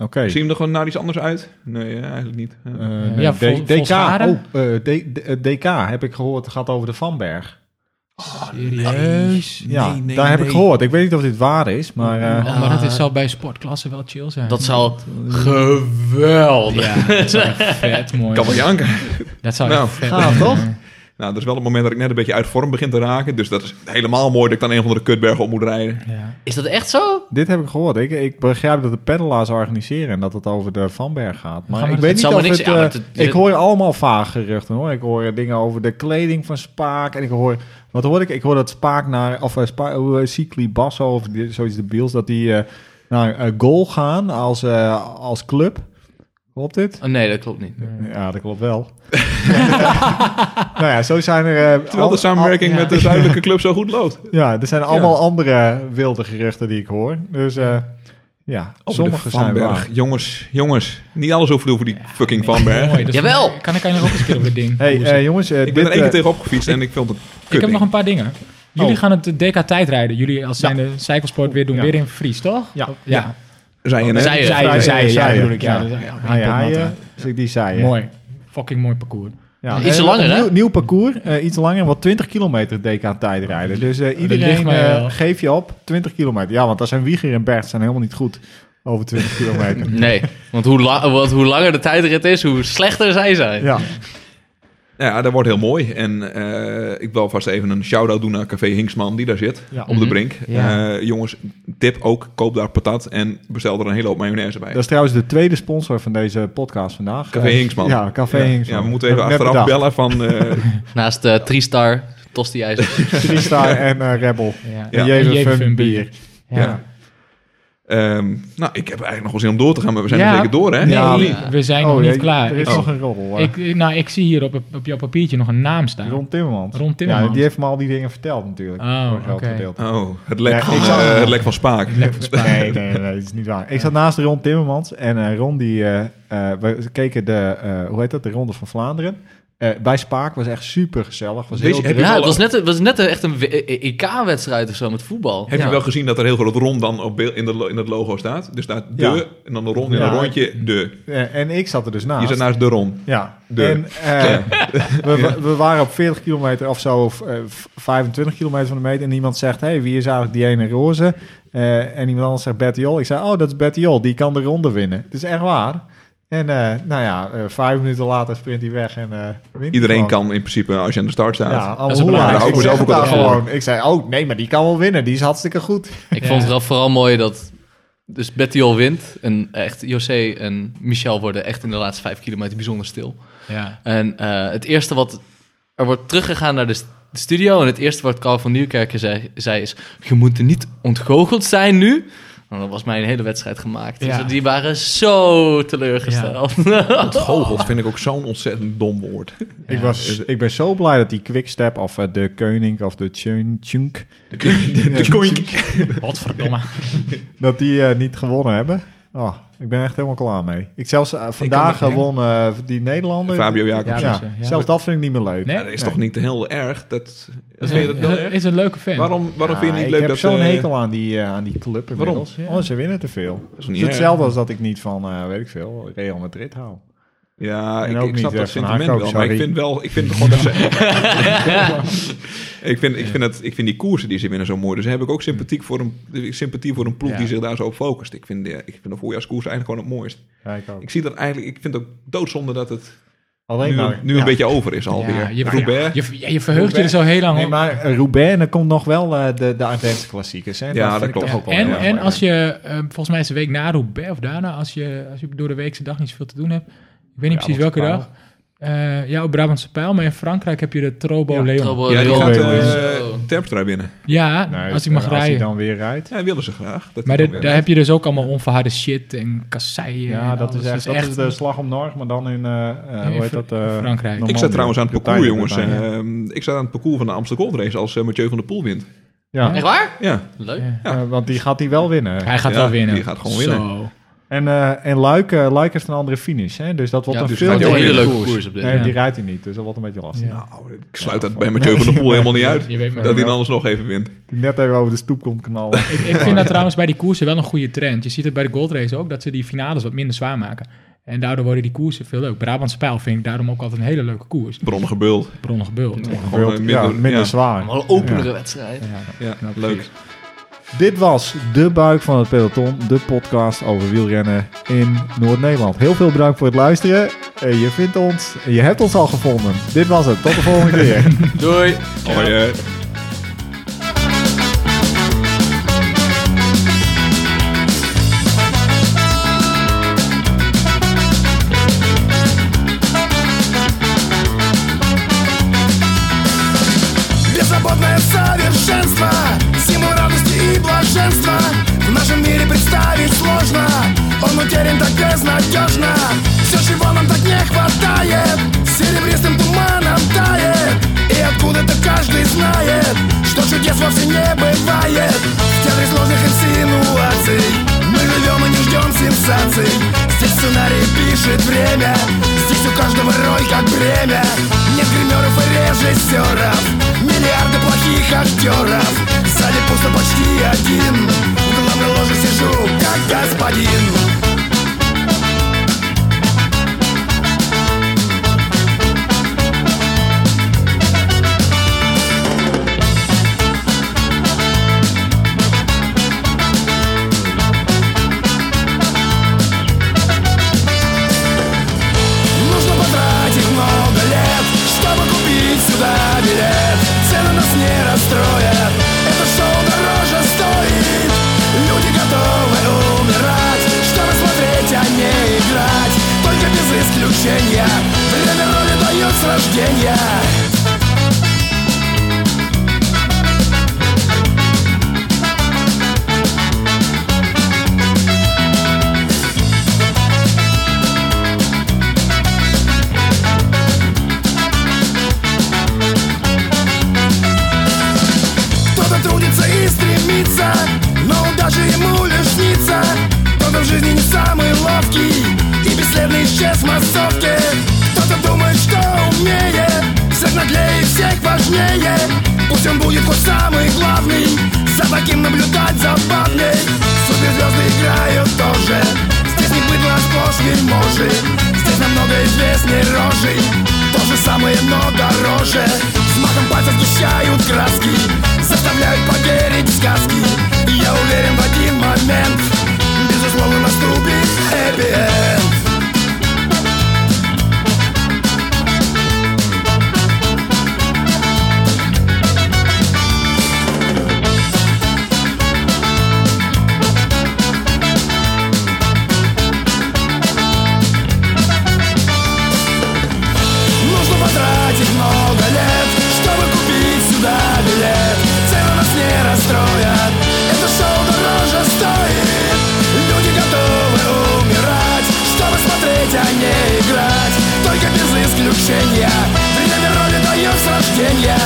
A: Oké.
C: Zie je hem er gewoon naar iets anders uit? Nee, eh, eigenlijk niet. Ja.
A: Eh, nee,
B: Ja,
A: D-
B: Vol-
A: DK.
B: Volkswagen.
A: Oh, eh, D- D- eh, DK heb ik gehoord. Het gaat over de Vanberg.
B: Serieus?
A: Ja,
E: Nee, nee,
A: daar heb
E: nee.
A: ik gehoord. Ik weet niet of dit waar is, maar... eh,
B: Oh, maar dat is, zal bij sportklassen wel chill zijn.
D: Dat zou geweldig.
B: ja, dat zou echt vet mooi
C: Kan wel
B: zijn.
C: janken.
B: Dat zou
C: Nou,
B: echt vet
D: gaaf,
B: zijn.
D: toch?
C: Nou, dat is wel het moment dat ik net een beetje uit vorm begin te raken. Dus dat is helemaal mooi dat ik dan een van de kutbergen op moet rijden.
B: Ja.
D: Is dat echt zo?
A: Dit heb ik gehoord. Ik, ik begrijp dat de peddelaars organiseren en dat het over de Vanberg gaat. Maar
B: maar
A: ik
B: het
A: weet niet
D: zal
A: of
D: maar niks-
A: het...
D: ja,
A: eh,
D: maar het-
A: ik hoor allemaal vaag geruchten hoor. Ik hoor dingen over de kleding van Spaak. En ik hoor... Wat hoor ik? Ik hoor dat Spaak naar... Of eh, Spa- hoe, eh, Cycli Basso of die- zoiets debiels. Dat die eh, naar eh, Goal gaan als, eh, als club. Klopt dit?
D: Oh, nee, dat klopt niet.
A: Ja, dat klopt wel. nou ja, zo zijn er... eh,
C: Terwijl
A: al-
C: de samenwerking
B: al- ja.
C: met de zuidelijke club zo goed loopt.
A: al- ja, er zijn allemaal andere wilde geruchten die ik hoor. Dus eh, ja,
C: Over
A: sommige
C: de
A: zijn
C: Vanberg.
A: waar.
C: Jongens, jongens. Niet alles over over die fucking Vanberg.
B: Mooi, dus
D: Jawel.
B: dan Kan ik eigenlijk nog eens een keer op dat ding?
A: Hey
B: koersen.
A: eh, jongens, eh,
C: Ik ben
A: dit,
C: er één keer
A: eh,
C: tegenop gefietst en ik vond het kut.
B: ik heb nog
C: ding.
B: een paar dingen. Jullie
A: Oh.
B: gaan het DK tijdrijden. Jullie als zijn de cyclesport weer doen.
A: Ja.
B: Weer in Fries, toch?
A: Ja.
B: Ja.
C: Zijn, hè?
B: Zij,
D: Zij-
A: Zij-
B: zij, zij, ja,
A: zij-
B: bedoel ik. Ja.
A: ja.
B: Dus, ja, op
A: haaien,
B: een potnat,
A: haaien. Dus ik die
B: hè.
A: zei.
B: Mooi. Fucking mooi parcours.
A: Ja.
D: Iets
A: Eh,
D: langer,
A: een
D: hè?
A: Nieuw, nieuw parcours, eh, iets langer, wat 20 kilometer DK tijdrijden. Dus eh,
B: ligt
A: iedereen
B: mij
A: eh,
B: wel.
A: geef je op, 20 kilometer. Ja, want daar zijn Wieger en Bert zijn helemaal niet goed over 20 kilometer.
D: Nee, want hoe, la- want hoe langer de tijdrit is, hoe slechter zij zijn.
A: Ja,
C: Nou Ja, dat wordt heel mooi. En eh, ik wil vast even een shout-out doen naar Café Hinksman, die daar zit,
A: Ja.
C: op de brink.
B: Ja.
C: Eh, jongens, tip ook, koop daar patat en bestel er een hele hoop mayonaise bij.
A: dat is trouwens de tweede sponsor van deze podcast vandaag.
C: Café
A: Eh,
C: Hinksman.
A: Ja, Café
C: ja,
A: Hinksman.
C: ja, we moeten even
A: Heb ik net
C: achteraf
A: bedacht.
C: bellen van... eh,
D: Naast eh Tri-Star, Tosti IJzer.
A: Freestyle en eh, Rebel.
B: Ja.
A: Ja.
C: Ja.
A: En
B: En
A: Jeven
B: Jeven
A: Fun
B: Fun
A: Bier.
B: Ja.
C: Ja. ehm, nou, ik heb eigenlijk nog wel zin om door te gaan, maar we zijn
B: Ja.
C: er zeker door, hè?
B: Nee,
A: Ja,
D: maar-
B: we zijn nog
A: Oh,
B: niet
A: ja,
B: klaar.
A: Er is
B: Ik,
A: nog een roddel. eh.
B: ik, nou, ik zie hier op, op jouw papiertje nog een naam staan.
A: Ron Timmermans.
B: Ron Timmermans.
A: Ja, die heeft me al die dingen verteld natuurlijk.
B: Oh,
A: Voor een groot
B: oké.
A: gedeelte.
C: Oh, het lek,
A: Ja,
C: van,
A: ik zou-
C: eh, het lek van Spaak.
A: Nee, nee, nee, dat is niet waar. Ik zat naast Ron Timmermans en eh, Ron die... eh, eh, we keken de, eh, hoe heet dat, de Ronde van Vlaanderen. Eh, bij Spaak was echt super gezellig. Was
C: Weet je,
A: heel
C: heb je
D: Ja,
C: wel-
D: het was net, het was net echt een EK-wedstrijd of zo met voetbal.
C: Heb
D: Ja.
C: je wel gezien dat er heel groot rond dan op beeld in, de, lo- in het logo staat? Dus daar de
A: Ja.
C: en dan een rond en
A: Ja.
C: een rondje de.
A: Eh, en ik zat er dus
C: Je
A: naast.
C: zit naast de rond.
A: Ja,
C: De-
A: en eh, we, we waren op 40 kilometer of zo, of eh, v- 25 kilometer van de meet. En iemand zegt, hey, wie is eigenlijk die ene roze? Eh, en iemand anders zegt Betty Jol. Ik zei, oh, dat is Betty Jol, die kan de ronde winnen. Het is echt waar. En eh, nou ja, eh, vijf minuten later sprint hij weg en eh, wint hij
C: Iedereen
A: gewoon.
C: kan in principe als je aan de start staat.
A: Ja,
B: Dat
A: allemaal
B: is het
A: hoe
B: belangrijkste.
A: Ik
C: Daar
A: zeg
C: hou
A: het
C: ik me
A: daar
C: zelf ook wel
A: gewoon. Ik zei, oh nee, maar die kan wel winnen. Die is hartstikke goed.
D: Ik
B: Ja.
D: vond het wel vooral mooi dat... Dus Bettiol wint en echt José en Michel worden echt in de laatste vijf kilometer bijzonder stil.
B: Ja.
D: En eh, het eerste wat... Er wordt teruggegaan naar de st- studio en het eerste wat Carl van Nieuwkerken zei, zei is... Je moet er niet ontgoocheld zijn nu. Nou, dat was mijn hele wedstrijd gemaakt.
B: Ja.
D: Dus die waren zo teleurgesteld.
C: Ontgoocheld vind ik ook zo'n ontzettend dom woord.
A: Ik, was, ik ben zo blij dat die quickstep of eh, de Keuning of de Tjunk- Tjunk...
C: De koink.
B: Godverdomme.
A: dat die eh, niet gewonnen hebben. Oh, ik ben echt helemaal klaar mee. Ik zelfs eh, vandaag
B: kan het, hè?
A: won eh, die Nederlander.
C: Fabio Jacobs.
A: ja,
B: Ja, precies, ja.
A: zelfs dat vind ik niet meer leuk.
B: Nee?
C: Ja, dat is toch niet heel erg? Dat,
B: Is,
C: vind je dat
B: een,
C: heel
B: is,
C: erg?
B: is een leuke fan.
C: Waarom, waarom
A: Ja,
C: vind je
A: Ah,
C: niet
A: ik
C: leuk
A: heb
C: dat...
A: zo'n
C: eh,
A: hekel aan die, eh, aan die club inmiddels.
B: Waarom?
A: Oh, ze winnen te veel.
C: dat is
A: Het
C: niet
A: is
C: erg.
A: hetzelfde als dat ik niet van, eh, weet ik veel, Real Madrid hou.
C: Ja,
A: En
C: ik,
A: ook
C: ik snap
A: niet,
C: dat
A: eh, Van
C: sentiment
A: Haak ook,
C: wel. Maar ik
A: sorry.
C: vind wel... Ik vind gewoon dat ze... ik, vind, ik, vind dat, ik vind die koersen die ze winnen zo mooi. Dus daar heb ik ook sympathiek voor een, sympathie voor een ploeg
A: Ja.
C: die zich daar zo op focust. Ik vind, de, ik vind de voorjaarskoers eigenlijk gewoon het mooist.
A: Ja, ik ook.
C: Ik zie dat eigenlijk... Ik vind het ook doodzonde dat het
A: Alleen
C: nu,
A: maar,
C: nu
A: ja.
C: een beetje over is alweer.
B: Ja, je,
C: Nou, Roubaix.
B: je, je, je verheugt je er zo heel lang
A: Nee,
B: op.
A: maar eh, Roubaix, en dan komt nog wel eh, de, de Ardense klassiekers. Hè?
C: Ja,
A: vind
C: dat
A: ik
C: klopt.
A: toch ook wel
B: en
A: heel erg
B: en
A: leuk.
B: als je, eh, volgens mij is de week na Roubaix of daarna, als je, als je door de weekse dag niet zoveel te doen hebt. Ik weet niet precies welke
A: Brabantse
B: dag. Eh, ja, op Brabantse Pijl, maar in Frankrijk heb je de Trobo
A: Ja,
B: Leon.
D: Trouwens,
C: Ja, die
D: Leon.
C: gaat
D: Zo.
C: eh Terpstra binnen.
B: Ja,
A: Nee, eh,
B: als ik mag
A: Als hij
B: rijden.
A: dan weer rijdt.
C: Ja, dat willen ze graag. Dat
B: Maar
C: die
B: de-
C: dan weer-
B: daar heb je dus ook allemaal onverharde shit en kasseien.
A: Ja,
B: en
A: dat
B: alles.
A: is echt, dat is dus- de slag om Norg, maar dan in, eh, eh,
B: In
A: hoe heet
B: Fr-
A: dat? eh,
B: Frankrijk.
A: Normandië.
C: ik zat trouwens aan het parcours,
A: Bretagne,
C: jongens.
A: Bretagne.
C: Ehm, ik zat aan het parcours van de Amsterdam Gold Race als eh, Mathieu van der Poel wint.
A: Ja,
D: Echt waar?
C: Ja,
D: Leuk.
B: Ja.
A: eh, want die gaat hij wel winnen.
B: Hij gaat
C: Ja,
B: wel winnen.
C: die gaat gewoon
B: Zo.
A: En, eh, en Luik, eh, Luik heeft een andere finish, hè? dus dat wordt
D: Ja,
A: een
C: dus
A: veel
C: gaat
D: Had
C: Ja,
D: je ook een
A: leuker
D: hele
C: ja.
D: leuke
A: koers.
D: koers op dit.
A: Nee,
D: Ja.
A: die rijdt hij niet, dus dat wordt een beetje lastig.
B: Ja.
C: nou, ik sluit dat bij Mathieu van der Poel helemaal niet uit.
B: Je weet maar.
C: Dat hij dan anders nog even wint.
A: Die net even over de stoep komt knallen.
B: Ik, ik vind dat trouwens bij die koersen wel een goede trend. Je ziet het bij de goldrace ook, dat ze die finales wat minder zwaar maken. En daardoor worden die koersen veel leuk. Brabantse pijl vind ik daarom ook altijd een hele leuke koers.
C: Bronnige bult.
B: Bronnige bult. Ja.
C: Gewoon, eh,
A: Wild- ja,
C: minder-
A: minder
C: ja.
A: zwaar.
D: Allemaal een openere
A: Ja.
D: wedstrijd.
B: Ja.
C: Ja,
B: Nou,
C: leuk.
B: precies.
A: Dit was De Buik van het Peloton, de podcast over wielrennen in Noord-Nederland. Heel veel bedankt voor het luisteren. Eh, Je vindt ons, je hebt ons al gevonden. Dit was het, tot de volgende keer.
D: Doei.
C: Hoi, eh.
E: Беззаботное совершенство Символ радости и блаженства В нашем мире представить сложно Он утерян так безнадежно Все, чего нам так не хватает Серебристым туманом тает И откуда-то каждый знает Что чудес вовсе не бывает В театре сложных инсинуаций Мы живем и не ждем сенсаций Здесь сценарий пишет время Здесь у каждого роль как бремя Нет гримеров и режиссеров Миллиарды плохих актеров В зале пусто почти один В главной ложе сижу как господин Нужно потратить много лет, чтобы купить сюда билет. Цены нас не расстроят, это шоу дороже стоит. Люди готовы умирать, чтобы смотреть, а не играть. Только без исключения, время роли дает с рождения. Кто-то трудится и стремится, но удача ему лишь снится. Кто-то в жизни не самый ловкий и бесследно исчез в массовке. Кто-то думает, что умнее, всех наглее, и всех важнее. Пусть он будет хоть самый главный, за таким наблюдать забавней. Суперзвезды играют тоже, здесь не быдло, а сплошь вельможи. Здесь намного известней рожей, то же самое, но дороже. Взмахом пальцев сгущают краски, заставляют поверить в сказки. И Я уверен в один момент, безусловно наступит happy end. Нужно потратить много лет, чтобы купить сюда билет. Цены нас не расстроят, это шоу дороже стоит. Люди готовы умирать, чтобы смотреть, а не играть. Только без исключения, время роли дает с рождения.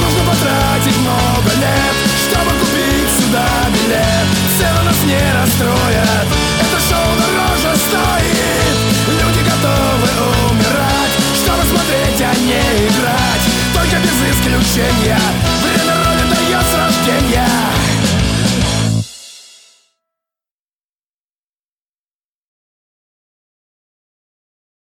E: Нужно потратить много лет, чтобы купить сюда билет. Цены нас не расстроят, это шоу дороже стоит. а